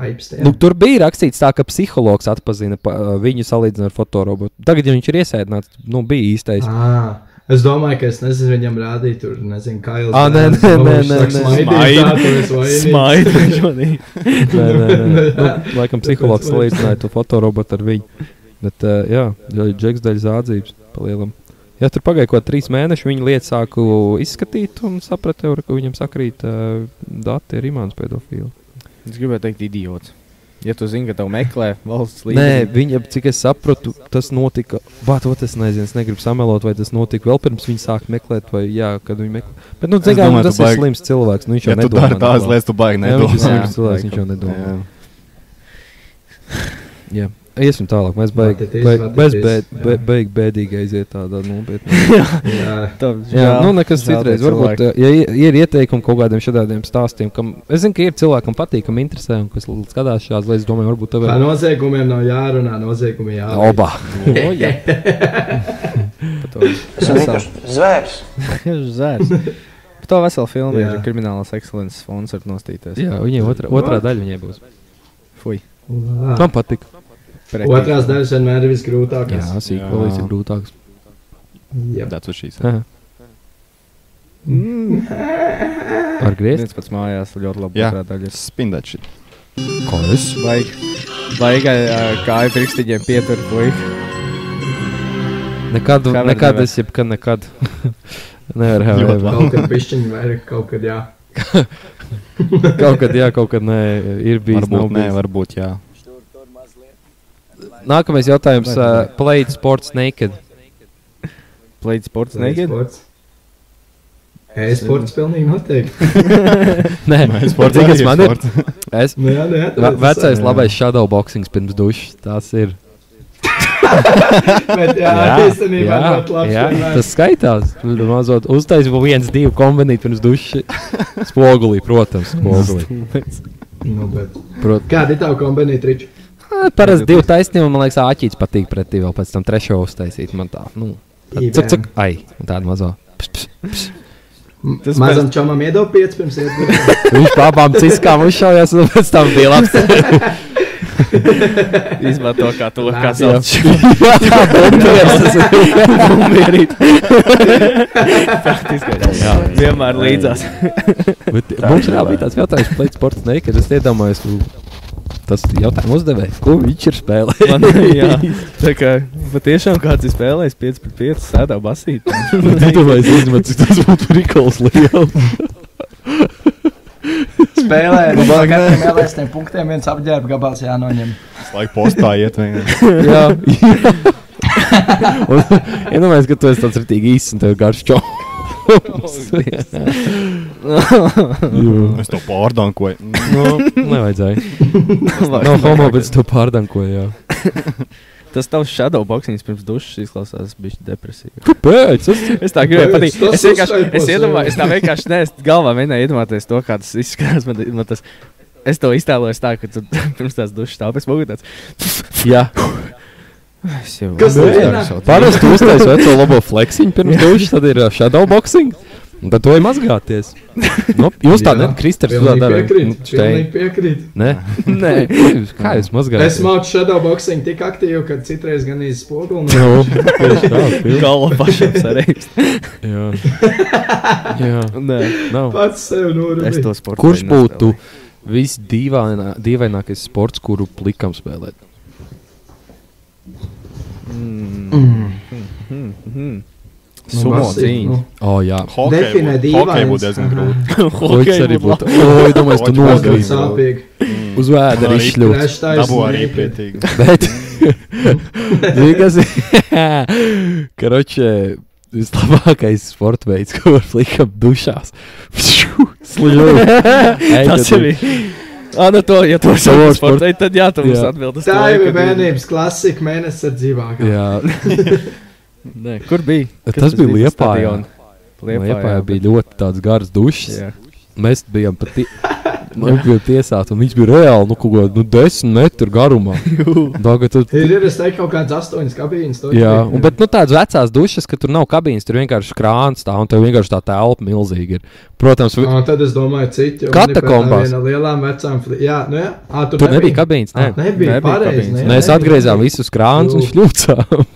D: vaipstiem.
B: tur bija rakstīts, tā, ka psihologs atzina viņu salīdzinājumu ar fotorobotu. Tagad, ja viņš ir iesaistīts, nu, bija īstais.
D: Ā, Es domāju, ka es nezinu, viņam rādīju, tur nezinu, kā jau
B: Ā, nē, nē, nē, nē, nē.
D: Smaidīt.
B: Nē, nē, nē. Nu, laikam psihologs salīdzināja to fotorobotu ar viņu. Bet, uh, jā, ļoti džeks daļa zādzības palielam. Jā, tur pagāja kaut kādi trīs mēneši, viņa lietu sāku izskatīt un sapratu, jau, ka viņam sakrīt uh, dati ar imāns pedofīlu.
A: Es gribēju teikt, idiots. Ja tu zini, ka tev meklē valsts
B: Nē,
A: līnija,
B: viņa, cik es sapratu, tas notika. Bāc, ot, es nezinu, es negribu samelot, vai tas notika vēl pirms viņi sāk meklēt, vai jā, kad viņi meklē. Bet, nu,
F: Es
B: zin, kā,
F: domāju,
B: nu,
F: tu
B: tas ir
F: baigi-
B: slims cilvēks. Nu, viņš jau
F: Ja tu
B: nedomā
F: dari tādas
B: neko.
F: lietas, tu baigi
B: Jā, viņš ir
F: nedomā.
B: slims cilvēks, viņš jau nedomā.
F: Jā.
B: Jā. Iesim tālāk, mēs beigām.
D: Vatetīs, vatetīs, jā.
B: Beigām bēdīgi aiziet tādā nopietnā.
A: tad
B: Jā, nu, nekas citreiz. Varbūt, ja ir- ir ieteikumi kaut kādiem šādiem stāstiem, kam es zinu, ka ir cilvēkam patīk, kam interesē, un kas l- skatās šādas lietas, domāju, varbūt tev
D: Par
B: ir
D: noziegumiem nav jārunā, noziegumi jārunā.
B: oba. Oh,
G: Esmu vienkārši zvērs.
A: Tieši zēns. Par to veselu filmu
D: Jā.
A: ir kriminālās ekscelences fonds var nostīties.
B: Jā, viņiem otrā, otrā daļa viņiem būs.
A: Fui.
D: Lā.
B: Man patīk.
A: pretī.
D: Otrās daļas vienmēr ir visgrūtākās.
B: Jā, sīkvalīs ir grūtāks.
D: Jā,
F: That's what she said.
B: Aha.
D: Mm.
B: Ar griezt?
A: Viens pats mājās ļoti labi
F: Jā.
A: otrā daļa. ir.
F: Spindēt šit.
B: Ko es?
A: Vajag, vajag ā, kāju pirkstiņiem pietur, puik.
B: Nekad,
A: Kā var
B: nekad
A: nevar?
B: es jebkad nekad. Nevar have
F: Ļoti
B: ever.
D: kaut kad pišķiņi vairāk, kaut kad jā.
B: Kaut kad jā, kaut kad nē, ir bijis. nav
F: Varbūt nē,
B: bijis.
F: varbūt jā.
B: Nākamais jautājums. Uh, played sports naked.
A: Played sports naked?
D: Sports. E-sports pilnīgi noteikti.
B: Nē,
F: Nē, sports
B: zini, kas
F: arī
B: man
F: ir
B: ir. Es,
D: Nu, jā, nē,
B: ve- vecais labais shadowboxings pirms dušas. Tas ir.
D: Bet, jā, īstenībā ļoti labs.
B: jā,
D: piemērs.
B: tas skaitās. Tur Mazot uztaisīt viens, divi kombinīt pirms dušas. Spogulī, protams, spogulī.
D: Nu, bet.
B: Prot,
D: Kāda ir tava kombinēta riča?
B: Ā, Parasti divi taisnība, man liekas, āķīts patīk pretī vēl pēc tam trešo uztaisīt. Man tā, nu,
D: Ībēm.
B: cik, cik, ai, un tāda mazā. Pš, pš.
D: Tas mazam čomam iedod 5 pirms iedod.
B: Viņš pa abām ciskām uzšaujās, un pēc tam bija labs.
A: Izmanto kā to, kā
D: Jā.
A: sauc.
B: Jā, bumbieris tas ir. Bumbierīt.
A: Jā, vienmēr līdzās.
B: Bet Mums ir jābūt tāds jautājums, plate sports naked. Es iedomājos, nu, tas jautājums uzdevējs, ko viņš ir spēlējis.
A: Man, jā, tā kā patiešām kāds ir spēlējis 5 pret 5 sēdā basīt.
B: Iedomājos, izmet, cik tas būtu prikals liels.
G: Spēlē,
F: Nu,
G: no
F: man
G: kādiem vēlēsniem punktiem viens apģērba gabals jānoņem.
F: Es laiku postā iet vienkārši.
B: Jā. Un Iedomājos, ka tu esi tāds rītīgi īsts un tev garš čoms.
F: Es to pārdankoju. Mm.
B: Nu, nevajadzēja. Nav homo, bet es to pārdankoju, jā.
A: Tas tavs shadowboxings pirms dušas izklausās bišķi depresīvi.
B: Kāpēc? Tas
A: Es tā gribēju
D: Pēc
A: pateikt.
D: tas
A: Es vienkārši, es
D: uztaipos, jā.
A: iedomājos, es tā vienkārši, ne, es galvā mēģināju iedomāties to, kā tas izskatās. Man, man tas, es to iztēlojos tā, ka tu pirms tās dušas tāpēc būtu tāds.
B: Jā.
A: Es jau
D: Kas
A: Nu,
D: tas
A: jā,
D: ir?
A: es jau tā-
B: Parasti uztais veco labo fleksiņu pirms dušas, tad ir uh, shadowboxing. un Tad to ir mazgāties. Nu, jūs tā
D: Jā.
B: nedarāt, Kristers. Jūs tā
D: Pilnīgi
B: darāt.
D: piekrīt,
B: Nu,
D: pilnīgi
B: te-
D: piekrīt.
B: Nē, nē. Kā jūs
D: Es
B: mazgājat?
D: mācu shadowboxing tik aktīvi, ka citreiz gan izspogulnu.
B: Nu, tieši tā, pilnīgi.
A: Galva pašam sarežģīta.
B: Jā. Jā.
A: Nē,
B: Nav.
D: Pats sev
A: es to
D: norūpēju.
A: sportu.
B: Kurš būtu visdīvainākais sports, kuru plikam spēlēt?
A: Nu,
D: Nu,
A: sumo cīņa?
B: O, oh, jā.
F: Hokej
D: Definē
F: būtu-
D: dīvains.
F: hokej būtu diezgan grūti.
B: Hoiks arī būtu. O, es domāju, tu
D: Tas
F: Hoiks būtu
D: ir
F: grūti.
B: nogrīzi.
D: sāpīgi.
B: Uz vēdra
F: Man
B: arī
F: arī
B: šļūt.
D: Crash Tyson
F: Mm. Dabū arī
D: sniper.
F: pietīgi.
B: Bet, zini, kas ir? Karoče, vislabākais sports veids, ko var likam dušās. Sližot.
A: Tas ir. Ah, nu to, ja to
B: Savo
A: sauc par
B: sportu.
A: sportu, ej, tad jā, tu mums
B: Jā.
A: atbildi.
D: Tā jau bija bērnības klasika, mēnesis ar dzīvāku.
B: Jā,
A: Nē, kur bija?
B: tas,
A: Kas
B: tas bija
A: bija?
B: Liepājā.
A: Stadion.
B: Liepājā
A: Liepājā
B: bija ļoti tāds gars dušas.
A: Jā.
B: Mēs bijām pati. Man bija tiesāts, un viņš bija reāli nu, kaut kādā nu, desmit metru garumā. Tagad tur
D: Ir ir, es teiktu, kaut kāds astoņas kabīnes. to
B: Jā,
D: ir.
B: un, bet nu, tādas vecās dušas, ka tur nav kabīnes, tur vienkārši krāns tā, un tev vienkārši tā telpa milzīga ir. Protams, vi-
D: Ā, Tad es domāju, citi.
B: Katakombās.
D: Viena lielām vecām. fli- Jā, nu jā. Ā, tur
B: tur nebija kabīnes.
D: Ā,
B: Nē.
D: Nebija,
A: Nebija
D: pareizi.
A: kabīnes.
D: Ah, ne,
B: Mēs
D: nebija.
B: atgriezām visus krānus un
D: Jū.
B: šļūcām.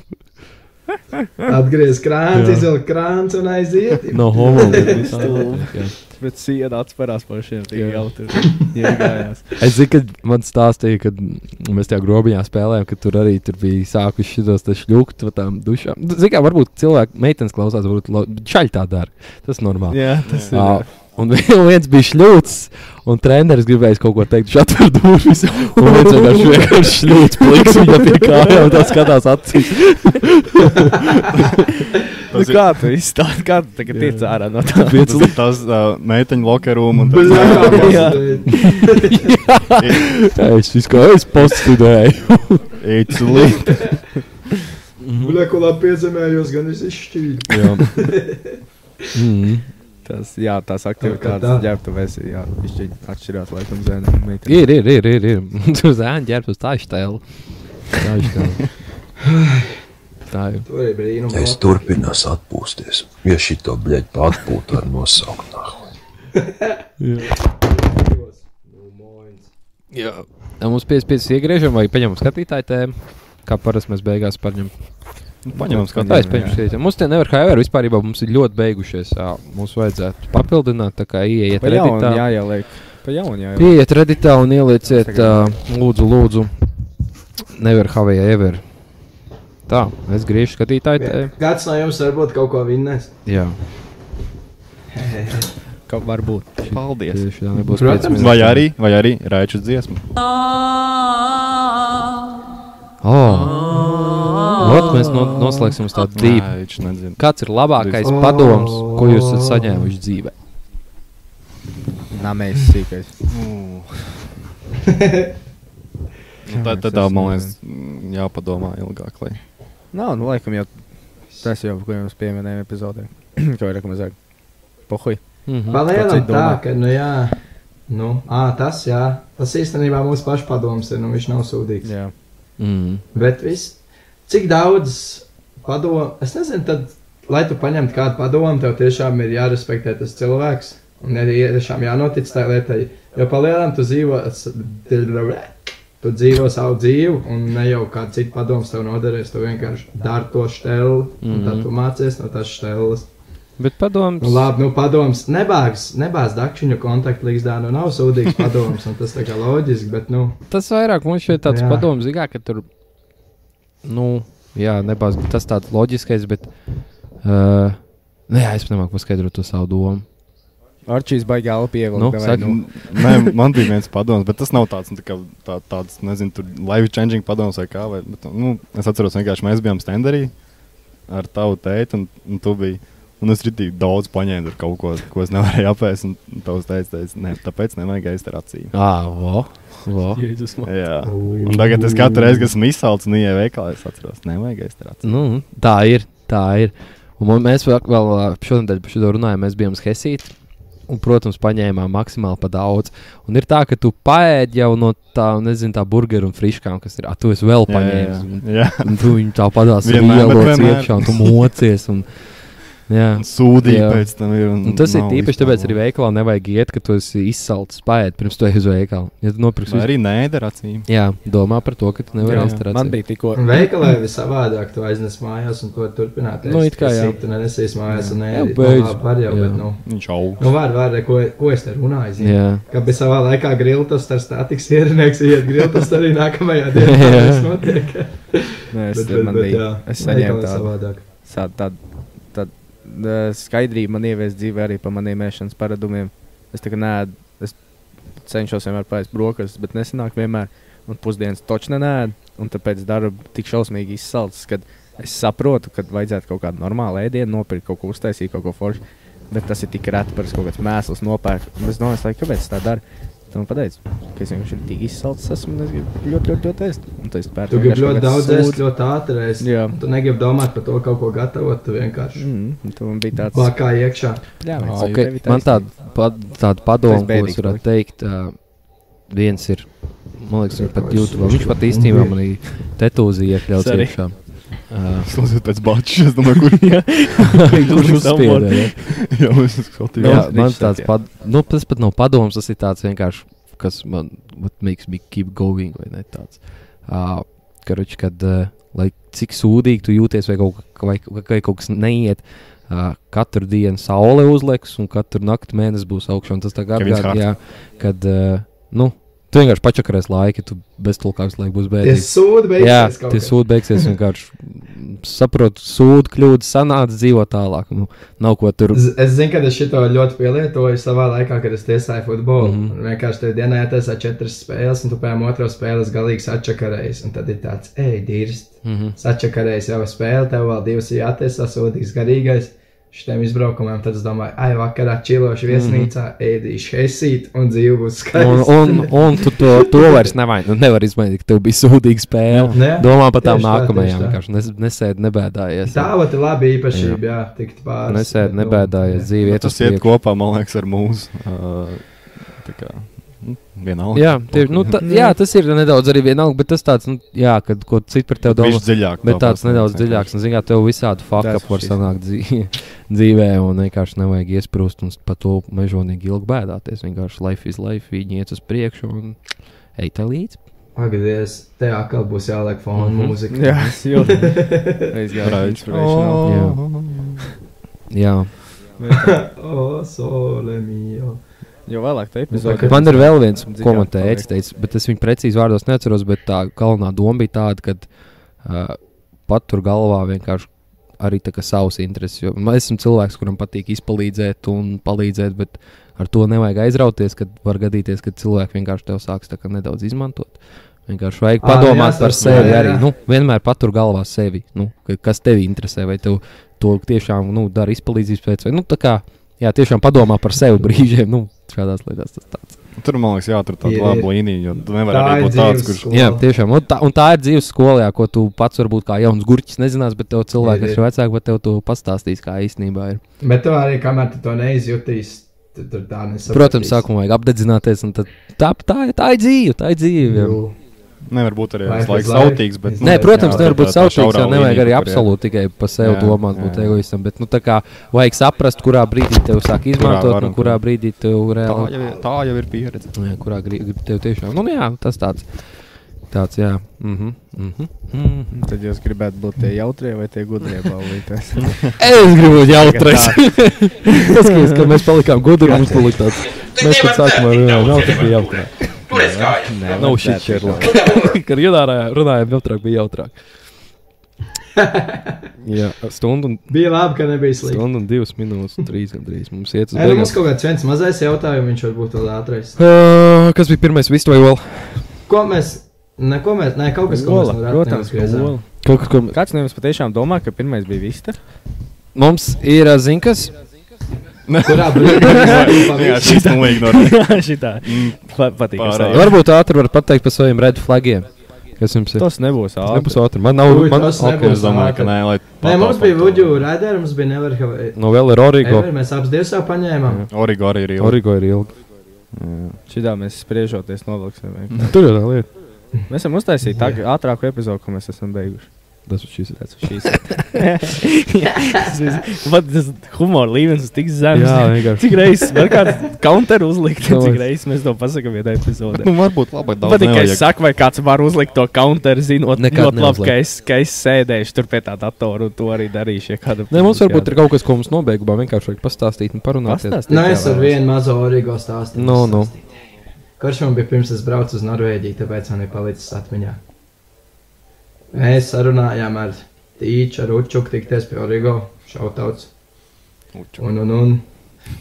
D: Atgriez krāns,
B: Jā.
D: izvilkt krāns un aiziet.
B: no homo. bet bija tā, jā.
A: Bet siena atspērās par šiem
B: Jā.
A: tikai jau tur. Iegājās.
B: Es zinu, ka man stāstīja, ka mēs tajā grobiņā spēlējām, ka tur arī tur bija sākuši šos šļūkt no tām dušām. Zinu, kā varbūt cilvēki, meitenes klausās, varbūt lo- šaļi tā dara. Tas ir normāli.
A: Jā, tas ir.
B: Ā, Un viens bija šļūts, un treneris gribēja kaut ko teikt. Viņš atver durvis, un viens vienkārši vienkārši šļūts, pliks viņa pie kājām, tā skatās acīs.
A: Nu, kā tu izstāsti? Kā tu tagad tiec ārā no tā?
F: Tas ir tas uh, meiteņu lokerūm un tas
A: Jā.
D: Bezrādās.
B: Jā, es visu kā es postudēju.
F: It's lit.
D: Molekulā piezemējos, gan es izšķīdu.
B: Jā. Mm.
A: Tas, jā, tās
D: Kaut kā
A: aktivitātes
D: tā.
A: ģērbtuvēs, jā, viņš atšķirās laikam zēniem. un meitenēm.
B: Ir, ir, ir, ir. ir. Tur zēni ģērbs uz tāju stēlu. Tāju stēlu. Tā ir.
D: Tur bija brīnums.
J: Es turpinās atpūsties. Ja šito bļaļ pārpūtu ar nosaukt nākotnē.
B: Jā. Mums 5-5 iegriežam vai paņemam skatītāju tēmu, kā parasti mēs beigās paņemam.
F: Paņemam
B: Tā es
F: skatījumu.
B: pieņemu šeit. Mums te nevar haver vispār, jo mums ir ļoti beigušies. Jā, mums vajadzētu papildināt, tā kā ieiet
A: Pa jaunu
B: redītā.
A: jāieliek. Pa jaunu jāieliek.
B: Pieiet redītā un ielieciet, uh, lūdzu, lūdzu, nevar haver ever. Tā, es griežu skatītāju te.
D: Kāds no jums varbūt kaut ko vinnēs?
B: Jā.
A: ka var būt.
F: Paldies.
B: Tieši tā nebūs.
F: Protams.
B: piecas minūtes.
F: Vai arī, vai arī raiču dziesmu.
B: Oh. Lūdzu, mēs no, noslēgsim uz tādu dziļu.
F: Raiču nezinu.
B: Kāds ir labākais padoms, ko jūs esat saņēmuši dzīvē?
A: Namēs sīkais.
F: Nu, tā, tā, tā, man liekas, mm, jāpadomā ilgāk. Lai.
A: Nav, nu, laikam jau tas jau, ko jums pieminēju epizodē. Ko ir rekomendēju? Pohuj. Kāds
B: Mhm.
A: ir
D: Palēnām tā,
A: domā?
D: ka, nu jā, nu, ā, tas jā, tas īstenībā mūsu pašpadoms ir, nu viņš nav sūdīgs.
A: Jā.
B: Mm.
D: Bet viss, cik daudz padomu, es nezinu, tad, lai tu paņemtu kādu padomu, tev tiešām ir jārespektē tas cilvēks. Un arī tiešām jānotic tā lietai. Jo palielinām tu dzīvo, s- tu dzīvo savu dzīvi, un ne jau kāds cits padoms tev noderēs. Tu vienkārši dari to steli, un tad tu mācies no tās steles.
B: Bet
D: Nu,
B: padoms.
D: labi, nu padoms, nebāgs, nebāgs dakšiņu kontaktlīgzdā, nu nav sūdīgs padoms, un tas tā kā loģiski, bet, nu,
B: Tas vairāk mums šeit tāds
D: Jā.
B: padoms, zināmā mērā, ka tur, nu, jā, nebāz, tas tāds loģiskais, bet. Uh, nē, jā, es pat nemāku paskaidrot to savu domu.
A: Arčīs baigā alpi
B: Nu,
A: ievilkt.
B: saki.
A: vai
F: N- Nē, man bija viens padoms, bet tas nav tāds, nu, tā kā, tā, tāds nezinu, tur life changing padoms vai kā. Vai, bet, nu, es atceros, vienkārši mēs bijām standarī ar tavu teitu, un, un tu biji. Un es rītīgi daudz paņēmu tur kaut ko, ko es nevarēju apēst. Un tavs teicis, teica, ne, tāpēc nevajag aizt ar acīm.
B: Ah, vo, vo.
A: Jēzus, man.
F: Jā, un tagad es katru reizi, kad esmu izsalcis, nu, ieeju veikalā, es atceros, nevajag aizt ar acīm.
B: Nu, tā ir. Tā ir. Un man- mēs vēl, vēl ā, šonadēļ par šo runājām, mēs bijām uz Hesīti. Un, protams, paņēmām maksimāli pa daudz. Un ir tā, ka tu paēdi jau no tā, nezinu, tā burgeru un friškām, kas ir. Ah, tu esi vēl
F: Jā, jā,
B: paņēmis. un-
F: jā. jā.
B: Un tu viņu tā padās
F: Vienmēr, bet
B: vienmēr,
F: vienmēr.
B: iekšā, un tu mocies. Un, jā.
F: Un sūdīgi
B: Jā.
F: pēc tam ir.
B: Un tas ir
F: nav
B: īpaši
F: vispār
B: tāpēc,
F: labi.
B: arī veikalā nevajag iet, ka tu esi izsalcis paēdi pirms tu ej uz veikalu. Ja tu nopirksi
F: Vai
B: visu,
F: arī nē, ar acīm.
B: jā, domā par to, ka tu nevari
A: Jā,
B: aizturēt.
A: Man bija tikko.
D: Un veikalā jau ir savādāk. Tu aiznes mājās un to turpināt.
B: Nu, it kā jā.
D: Tu nesīs mājās un
B: Jā,
D: ēdi.
B: beidz.
D: Nu, labi, Var jau,
B: Jā.
D: bet nu.
F: Viņš aug.
D: Nu, var, var, ko, ko es te runāju? Zinu.
B: Jā.
D: Kā bija savā laikā griltos, tas statiks ierinieks, iet griltos arī nākamajā dienā.
B: Jā.
D: Tas notiek.
A: Nē, es,
D: Bet, bet,
A: man
D: bet,
A: bija.
D: jā,
A: Es saņēmu
D: veikalā
A: tādu.
D: savādāk.
A: Sā- tād- tād, ā, skaidrība man ievies dzīvē arī par maniem ēšanas paradumiem. Es tā kā nē, es cenšos vienmēr pāriest brokastis, bet nesenāk vienmēr. Un pusdienas točs nenēdu, un tāpēc darbu tik šausmīgi izsalcis, ka es saprotu, ka vajadzētu kaut kādu normālu ēdienu nopirkt, kaut ko uztaisīt, kaut ko foršu. Bet tas ir tik reti, ka es kaut kāds mēsls nopērku. Un Es domāju, es laikam, kāpēc es tā daru. Tad man teica, ka es vienkārši esmu tik izsalcis, esmu un es gribu ļoti, ļoti, ļoti ēst. Un tas ir pērts.
D: Tu gribi ļoti daudz ēst, ļoti ātri ēst.
A: Jā.
D: Tu negribi domāt par to kaut ko gatavot, tu vienkārši
A: Mm, un tu man bija tāds.
D: plakā iekšā.
A: Jā,
B: Okay, man tāda pad, tād padoma,
A: Tu esi
B: ko es
A: bēdīgs,
B: varētu teikt, uh, viens ir, man liekas, ir pat
D: Kā es
B: YouTube,
D: sūdzu.
B: viņš pat īstenībā man arī tetūzija iekļauts
A: Sorry.
B: iekšā. Uh,
F: Klausies pēc bačas, es domāju, kur
B: kurš
F: Kurš
B: uzspieda?
F: uzspieda,
B: ja?
F: Jā, mēs
A: Jā,
B: Jā,
F: esam skatījumā.
B: man
A: viņš saka,
B: tāds
A: jā.
B: pad, nu, tas pat nav padoms, tas ir tāds vienkārši, kas man, what makes me keep going, vai ne tāds. Uh, Karuči, kad, uh, lai cik sūdīgi tu jūties, vai kaut, ka- vai, vai kaut kas neiet, uh, katru dienu saule uzlieks, un katru nakti mēnesis būs augšā, un tas tā kā
F: Kevins Hart.
B: apgādājās, kad, uh, nu, tu vienkārši pačakarēs laiki, tu beztulkāks laik būs
D: Tie
B: bēdīgs.
D: sūdi
B: Jā,
D: beigās. kaut
B: tie
D: kas.
B: sūdi beigsies vienkārši. mm, Saprotu, sūdi, kļūda, sanāca, dzīvo tālāk. Nu, nav ko tur.
D: Z- Es zinu, ka es šo ļoti pielietoju savā laikā, kad es tiesāju futbolu. Mm
B: Mhm.
D: -hmm. Vienkārši tur dienā jātaisa četras spēles, un tu pēc otras spēles galīgi atčakarējies. Un tad ir tāds, ej, dirst,
B: Mm -hmm.
D: atčakarējies jau spēle, tev vēl divas ir jātaisa, sūdīgs garīgais. Šiem izbraukumiem tad es domāju, ai, vakarā čilošu viesnīcā, mm -hmm. ēdīšu hesīt un dzīvu būs
B: Mhm. Un,
D: skaisti.
B: un, un tu to, to vairs nevaini. Nu, nevar izmainīt, ka tev bija sūdīga spēle.
D: Ne?
B: Domā par tām
D: Tieši tā,
B: nākamajām.
D: tieši tā.
B: vienkārši Nes, nesēdi, nebēdājies.
D: Tā vot ir laba īpašība, jā, tikt pāri.
B: Nesēdi, nebēdājies dzīvē. Iet
F: Nu,
B: uz
F: Tas iet
B: priekšu.
F: kopā, man liekas, ar mūsu. ā, Tā kā nu, vienalga.
B: Jā, tie, nu,
D: Mm.
B: ta, jā, tas ir nedaudz arī vienalga, bet tas tāds, nu, jā, kad ko citu par tevi domā.
F: Viņš dziļāk.
B: Bet tāds
F: tāpēc,
B: nedaudz
F: vienkārši.
B: dziļāks, un zināmā mērā tev visādi fakti
A: Tas
B: var
A: šis.
B: sanākt dzī- dzīvē, un vienkārši nevajag iesprūst un par to mežonīgi ilgi bēdāties. Vienkārši life is life, viņi iet uz priekšu un ej tā līdzi.
D: Pagadies, te atkal būs jāliek fona
B: Mhm.
D: mūzika.
A: Jā, es jūtu. Es gāju
F: Raids.
A: inspirational.
B: Jā,
D: O, sole mio.
A: Jo vēlāk tā
D: Tā
A: epizode.
D: kā-
B: Man ir vēl viens,
A: Dziļāk
B: ko man teica,
A: paliek.
B: teica, bet es viņu precīzi vārdos neatceros. Bet tā galvenā doma bija tāda, ka uh, patur galvā vienkārši arī tā kā savas intereses. Jo man- es esmu cilvēks, kuram patīk izpalīdzēt un palīdzēt, bet ar to nevajag aizrauties, kad var gadīties, ka cilvēki vienkārši tev sāks tā kā nedaudz izmantot. Vienkārši vajag
D: Ā, nu
B: padomāt
D: jā,
B: par
D: tas-
B: sevi
D: jā, jā.
B: arī. Nu, vienmēr patur galvā sevi, nu, ka- kas tevi interesē, vai tev to tiešām nu, dara izpalīdzības pēc. Vai, nu, tā kā, jā, tiešām padomā par sevi brīžiem, nu, šādās lietās tas tāds.
F: Tur man liekas, jāatur tāda
D: Ir,
F: laba
D: ir.
F: līnija, jo tu nevari
D: Tā
F: arī
D: ir
F: būt tāds,
D: dzīves
F: kurš
D: skola.
B: Jā, tiešām. Un tā, un tā ir dzīves skolā, ko tu pats varbūt kā jauns gurķis nezinās, bet tev cilvēki,
D: Ir,
B: kas
D: ir.
B: ir vecāki, pat tev to pastāstīs, kā īstenībā ir.
D: Bet tev arī, kamēr tu to neizjutīs, tad tur tā nesaproti.
B: Protams, sākumā vajag apdedzināties, un tad, tā, tā, ir- tā ir dzīve. Tā ir dzīve jā.
F: nevar būt arī
D: Life
F: visu laiku
D: is life.
F: sautīgs. Bet, nu,
B: Nē, protams,
F: jā,
B: nevar
F: tā-
B: būt
F: tā- tā
B: savstarpēji.
F: šaurā
B: Tev nevajag arī
F: līnija, kur, jā.
B: absolūti tikai par sevi
F: Jā,
B: domāt, būt
F: jā.
B: egoistam. Bet, nu, tā kā vajag saprast, kurā brīdī tev sāk
F: var
B: izmantot, un
F: un
B: kurā brīdī tev
F: Tā
B: reāli.
F: jau, ir- tā jau ir pieredze.
B: Jā, kurā gribi tev tiešām. Nu, jā, tas tāds. Tāds, jā. Mhm. mhm, mhm.
A: Tad jūs gribētu būt tie jautrie vai tie gudrie balvītēs.
B: Es gribu būt jautrais. Tas, ka, ka mēs palikām gudri, mums palika tāds. Mēs pat sākumā runājām, nav tik bija jautrāk.
A: Nē,
B: Nav šī čērla. Kad runājām, runājām jautrāk, bija jautrāk. Jā, stundu un,
D: Bija labi, ka nebija slikti.
B: stundu un divas minūtes, trīs gandrīz. Mums iet uz
D: Nē, nu, mums
B: beigām.
D: kaut kāds viens mazais jautājums, viņš varbūt vēl ātrāks.
B: Uh, kas bija pirmais, vistu vai vēl?
D: Ko mēs, ne, ko mēs, ne, kaut kas, ko mēs no ratiņa
A: protams,
D: uzgriezām.
A: ola. Kaut kas, ko m- Kāds no jums patiešām domā, ka pirmais bija vista?
B: Mums ir uh, zinkas.
D: Kurā brīdī mēs
F: Jā,
D: pavisam?
F: šis man liekas, no
A: Šitā. Pa- Patīk. es
F: Pārējais.
A: teiktu.
B: Varbūt ātri var pateikt par saviem red flagiem. Kas jums ir?
A: Tas nebūs
B: Tas
A: ātri.
B: nebūs ātri. Man nav.
D: Ui,
B: Man,
D: tas nebūs.
B: ok.
F: es domāju, ka nē, lai.
D: Nē, mums
F: pataupa
D: bija
F: to.
D: Vudu Raider, mums bija Never Have Ever.
B: Nu, vēl ir origo.
D: Mēs abas divas jau paņēmām.
F: Origo arī ir ilgi.
B: Origo ir ilgi.
A: Šitā mēs spriežoties novilksim. vienkārši.
B: Tur jau tā lieta.
A: Mēs esam uztaisījuši tā ātrāku epizodu, ko mēs esam beiguši.
B: Tas ir šis.
A: Tas ir šīs. Vat tas humora līmenis ir tik zems.
B: Jā, vienkārši.
A: Cik reizes var kāds counter uzlikt,
B: Tāpēc.
A: cik reizes mēs to pasakām vienā epizodē.
F: Nu, varbūt labi,
A: Pat
F: daudz
A: tikai
F: nevajag.
A: es saku, vai kāds var uzlikt to counteru, zinot,
B: Nekad
A: ļoti labi,
B: neuzliek.
A: ka es, ka es sēdēšu tur pie tā datora un to arī darīšu. Ja kādam
B: Nē, mums
A: būs
B: varbūt
A: jādara.
B: ir kaut kas, ko mums nobeigumā vienkārši vajag pastāstīt un parunāt.
A: Pastāstīt,
D: Nē, es ar vienu mazo origo stāstu.
B: Nu, nu.
D: Kurš man bija pirms es braucu uz Norvēģiju, tāpēc man ir palicis atmiņā. Mēs sarunājām ar Tīču, ar Učuku, tikties pie origo šautauts. Un, un, un.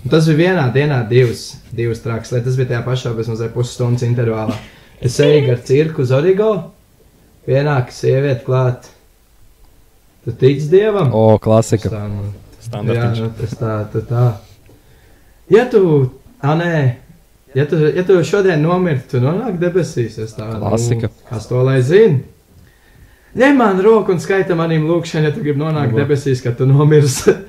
D: Un tas bija vienā dienā, divas, divas trakas lietas. Tas bija tajā pašā bezmazliet pusstundas intervālā. Es eju ar cirku uz origo, pienāk sieviete klāt. Tu tici dievam?
B: O, klasika.
D: Tā, nu, Jā,
F: Standartiņš.
D: nu, tas tā, tā, tā. Ja tu, ah, nē, ja tu, ja tu šodien nomirti, tu nonāc debesīs. Es tā
B: Klasika.
D: Nu, kas to lai zina? Ņem man roku un skaita manim lūkšanai, ja tu gribi nonākt debesīs, kad tu nomirsi.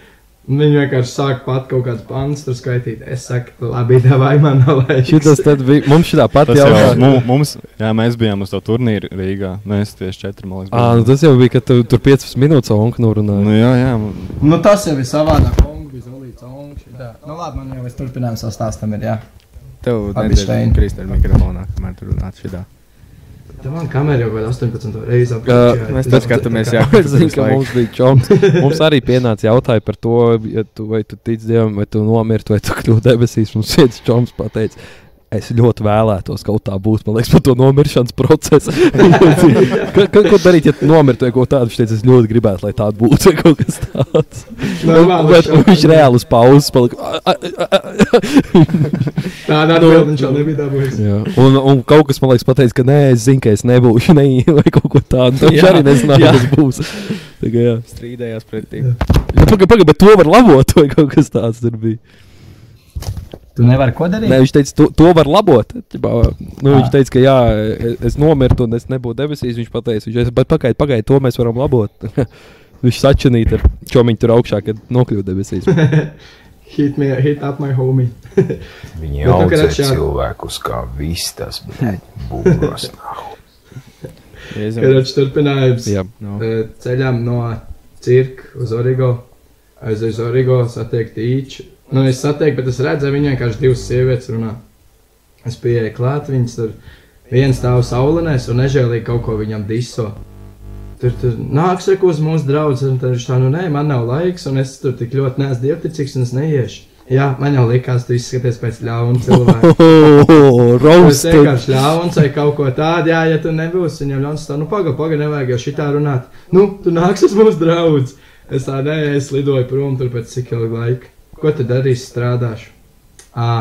D: Un Viņi vienkārši sāk pat kaut kādas pantus tur skaitīt. Es saku, labi, davai man nav laiks.
B: Šitas tad bija. Mums šitā
F: Tas
B: pati
F: jau
B: jautājuma.
F: mu- mums, jā, mēs bijām uz to turnīru Rīgā. Mēs tieši četri, man liekas.
B: Ā, nu
D: Ah.
F: bijām.
B: tas jau bija, kad tu, tur 15 minūtes savu onknu
F: Nu,
B: runāja.
F: jā, jā. man-
D: Nu, tas jau ir savādāk. Kongu bija zolīts, ongu šitā. Nu, labi, man jau es turpinājumu sastāstam ir, jā.
A: Tev
D: Abi
A: nedēļ
D: šteini.
A: krist ar mikrofonā, kamēr tur runāt šitā.
D: Tā man kamera jau vēl 18 reizes
B: Jā,
A: Mēs tā skatāmies, jā,
B: Es zinu, ka mums bija čoms. Mums arī pienāca jautājumi par to, ja tu, vai tu tici dievam, vai tu nomirti, vai tu kļūsi debesīs. Mums viens čoms pateica. Es ļoti vēlētos kaut tā būt. Man liekas, par to nomiršanas procesu. Ka- ka- Ko darīt, ja tu nomirti vai ko tādu? Viņš teica, es ļoti gribētu, lai tāda būtu vai kaut kas tāds. Un,
D: Normāli
B: bet, un
D: šaubu.
B: viņš reāli uz pauzes palika. "A, a, a, a, a."
D: Tādā
B: Nu,
D: veidā viņš jau nebija dabūjis.
B: Jā. Un, un kaut kas man liekas, pateica, ka nē, es zinu, ka es nebūšu ne, vai kaut ko tādu. Tad Viņš
A: Jā,
B: arī nezināja,
A: jā.
B: kas būs. Tā kā, jā.
A: Strīdējās pretī.
B: Nu, Pagaid, pagaid, bet to var labot, vai kaut kas tāds tur bija.
D: Tu nevari ko darīt?
B: Nē, viņš teica, to, to var labot. Ķibā, nu, viņš teica, ka jā, e- es nomirtu un es nebūtu debesīs. Viņš pateica, viņš teica, pagaid, pagaid, to mēs varam labot. viņš sačinīja ar čomiņu tur augšā, kad nokļuva debesīs.
D: Hit, me, hit up my homie. Bet
J: Viņi
D: tu,
J: audzē
D: Karačā-
J: cilvēkus kā vistas, bet būros nav.
D: Kad viņš turpinājums
B: jā.
A: No.
D: eh, ceļām no cirka uz origo, aizies uz origo, satiekt īču. Nu, es satieku, bet es redzēju, viņa vienkārši divas sievietes runā. Es pieeju klāt, viņas tur viens stāv saulinēs un nežēlīgi kaut ko viņam diso. Tur, tur nāk, saka, uz mūsu draugs, un tad viņš tā, nu, nē, man nav laiks, un es tur tik ļoti neesmu dievticīgs, un es neiešu. Jā, man jau likās, tu izskaties pēc ļauna cilvēka. Tas ir
B: Roasted.
D: vienkārši ļauns vai kaut ko tādu. Jā, ja tu nebūsi viņam ļauns, tad nu pagaidi, pagaidi, nevajag jau šitā runāt. Nu, tu nāks uz mūsu draugu. Es tā nē, es lidoju prom tur pēc cik ilga laika. Ko tu darīsi? Strādāšu. Ā,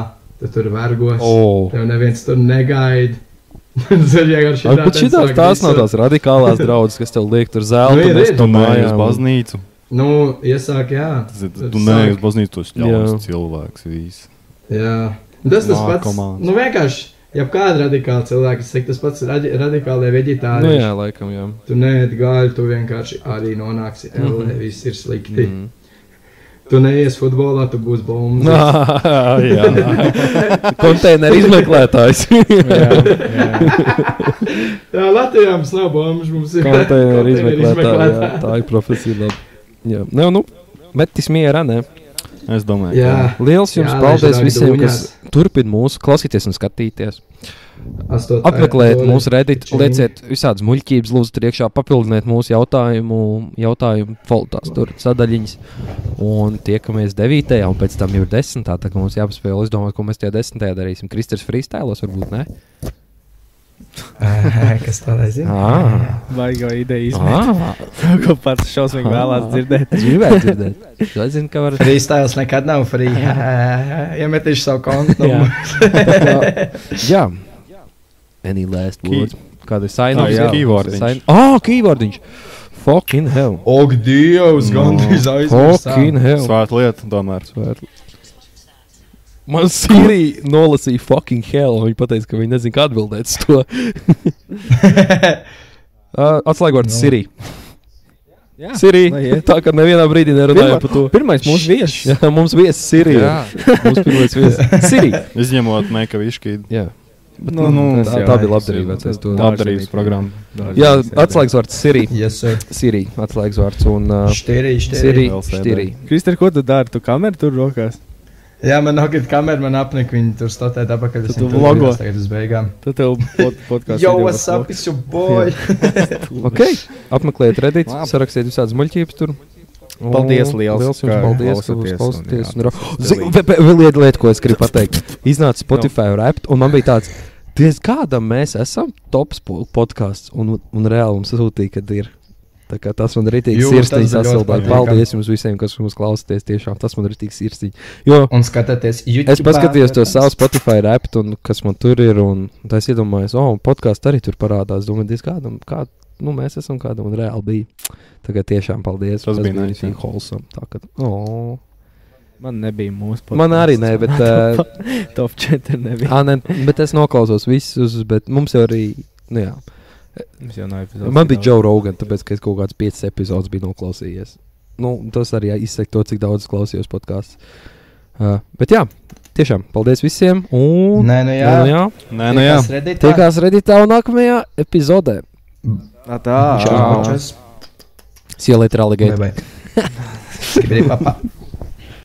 D: tu tur vergos.
B: O.
D: Tev neviens tur negaida. Tas ir vienkārši
B: Ak, Bet šitās tās nav tās radikālās draudzes, kas tev liek tur
D: Nu,
B: zelta.
D: ir,
B: mēs
D: ir.
B: tur
F: Tu neej uz
B: mājām.
F: baznīcu.
D: Nu, iesāk, jā.
F: Tas ir-
D: Tad
F: Tu neej uz
D: sāk.
F: baznīcu, tu esi ļauns cilvēks. Viss.
D: Jā. Un Tas tas pats.
F: Narkomāns.
D: Nu, vienkārši, ja kāda radikāla cilvēka, es teiktu, tas pats radi- radikālie
B: Nu
D: veģetāri.
B: jā, laikam, jā.
D: Tu neiet gāļu, tu vienkārši arī nonāksi LE,
B: Mhm.
D: viss ir slikti.
B: Mm.
D: Tu neies futbolā, tu būsi bombs.
B: jā. Konteineru izmeklētājs.
D: Jā, Latvijā mums nav bombs, mums ir
B: Konteineru
D: konteineru
B: izmeklētājs.
D: izmeklētāji.
B: Tā ir profesija. labi. Jā, nu, nu, bet tas mierā, ne?
F: Es domāju,
D: Jā,
B: Liels jums
D: Jā,
B: jā,
D: lai
B: paldies
D: žrāk
B: visiem,
D: dūņās.
B: kas turpina mūsu klausīties un skatīties.
D: Astotā
B: Apmeklējiet
D: epizode.
B: mūsu redītu,
D: Čing.
B: lieciet visādas muļķības, lūdzu, tur iekšā, papildiniet mūsu jautājumu, jautājumu foltās, tur sadaļiņas. Un tiekamies 9. un pēc tam jau ir 10. Tā kā mums jāpaspēj, es domāju, ko mēs tajā 10. darīsim. Kristers freestylos varbūt, ne?
D: Kas tā lai zina?
B: Ā,
A: Vajag jau ideju izmantot.
B: ā,
A: Ko pats šausmīgi vēlās dzirdēt.
B: gribētu dzirdēt. Es zinu, ka var.
D: Freestyles nekad nav free. Iemetīšu savu kontu.
B: Jā. Jā. Any last
F: Key.
B: words? Kāda ir saina?
F: Ah, jā, keywordiņš.
B: Ah, keywordiņš. Fucking hell.
D: Ok, Dievs,
F: No.
D: gandrīz
B: Fucking
D: aizmirst.
B: hell.
F: svēta lieta tomēr.
B: Man Sīrija nolasīja fucking hell, un viņa teica, ka viņa nezina, kā atbildēt uz to. uh, Atslēgvārds no. Sīrija.
A: Jā. Nu. Lai
B: Sīrija.
A: iet.
B: Tā kā nevienā brīdī nerunāja par to.
A: Pirmais mūsu viesis.
B: Jā, mums viesis Sīrija. Mums pirmais viesis Sīrija.
F: Izņemot Meikavišķi.
B: Jā,
A: Nu, nu,
B: tā, tā bija labdarība. es to-
F: Labdarības programma.
B: Jā, atslēgvārds Sīrija.
D: Yes, sir.
B: Sīrija, atslēgvārds un uh,
D: Štīri, štīri.
B: Sīrija.
F: Vēl sēdē.
B: Sīrija.
A: Kristēr, ko tu dari? Tu kameru tur rokās.
D: Jā, man nav kāda kamera, man apnik viņa tur statē tāpēc, ka
A: Tu
D: tas
A: tu vlogo.
D: tagad uz beigām.
A: Tad tev pod, podkāsts.
D: Yo, what's up, it's your boy!
B: Okay. Apmeklējiet redīt,
F: Labi.
B: sarakstiet visādas muļķības tur. Un
A: Paldies liels,
B: liels
A: ka
B: jums paldies, ka
A: klausāties
B: jūs
A: un jā,
B: klausāties. un ra-
A: tas
B: Zini,
A: arī-
B: vē- vē- Vēl viena lieta, ko es gribu pateikt. Iznāca Spotify rapt, un man bija tāds, diez kādam mēs esam tops po- podcasts, un, un reāli mums sūtīja, kad ir. Tā kā tas man rītīgi
D: Jū,
B: sirsniņa
D: tas bija ļoti
B: sasildīja.
D: patīkami.
B: Paldies jums visiem, kas mums klausāties. Tiešām tas man rītīgi sirsniņa. Jo
D: Un skatieties, YouTube.
B: Es paskatījos to savu Spotify rapt, un kas man tur ir. Un tā es iedomājos, oh, podkāsts arī tur parādās. Domāju, diez kādam, kā, nu, mēs esam kādam, un reāli bija. Tagad tiešām paldies.
F: Tas bija
B: ļoti
F: nice, jā.
B: holsam. Tā, kad, oh.
A: Man nebija mūsu podkāsts.
B: Man arī nē, bet, uh,
A: Top 4 nebija.
B: ā, ne, bet es noklausos visus, bet mums jau arī. Nu, jā.
A: Mums jau nav epizodes.
B: man bija Joe Rogan, tāpēc ka es kaut kāds piecas epizodes biju noklausījies. Nu, tas arī izsaka to, cik daudz es klausījos podkāstu. Uh, bet jā, tiešām paldies visiem. Un...
D: Nē, nu jā.
B: Nu, jā.
F: Nē, nu jā.
D: Tikā.
B: Tikās redītā un nākamajā epizodē.
A: Tā.
B: Ciao.
D: Čau.
B: See you later, alligator.
D: Bye bye. Skibidi papa.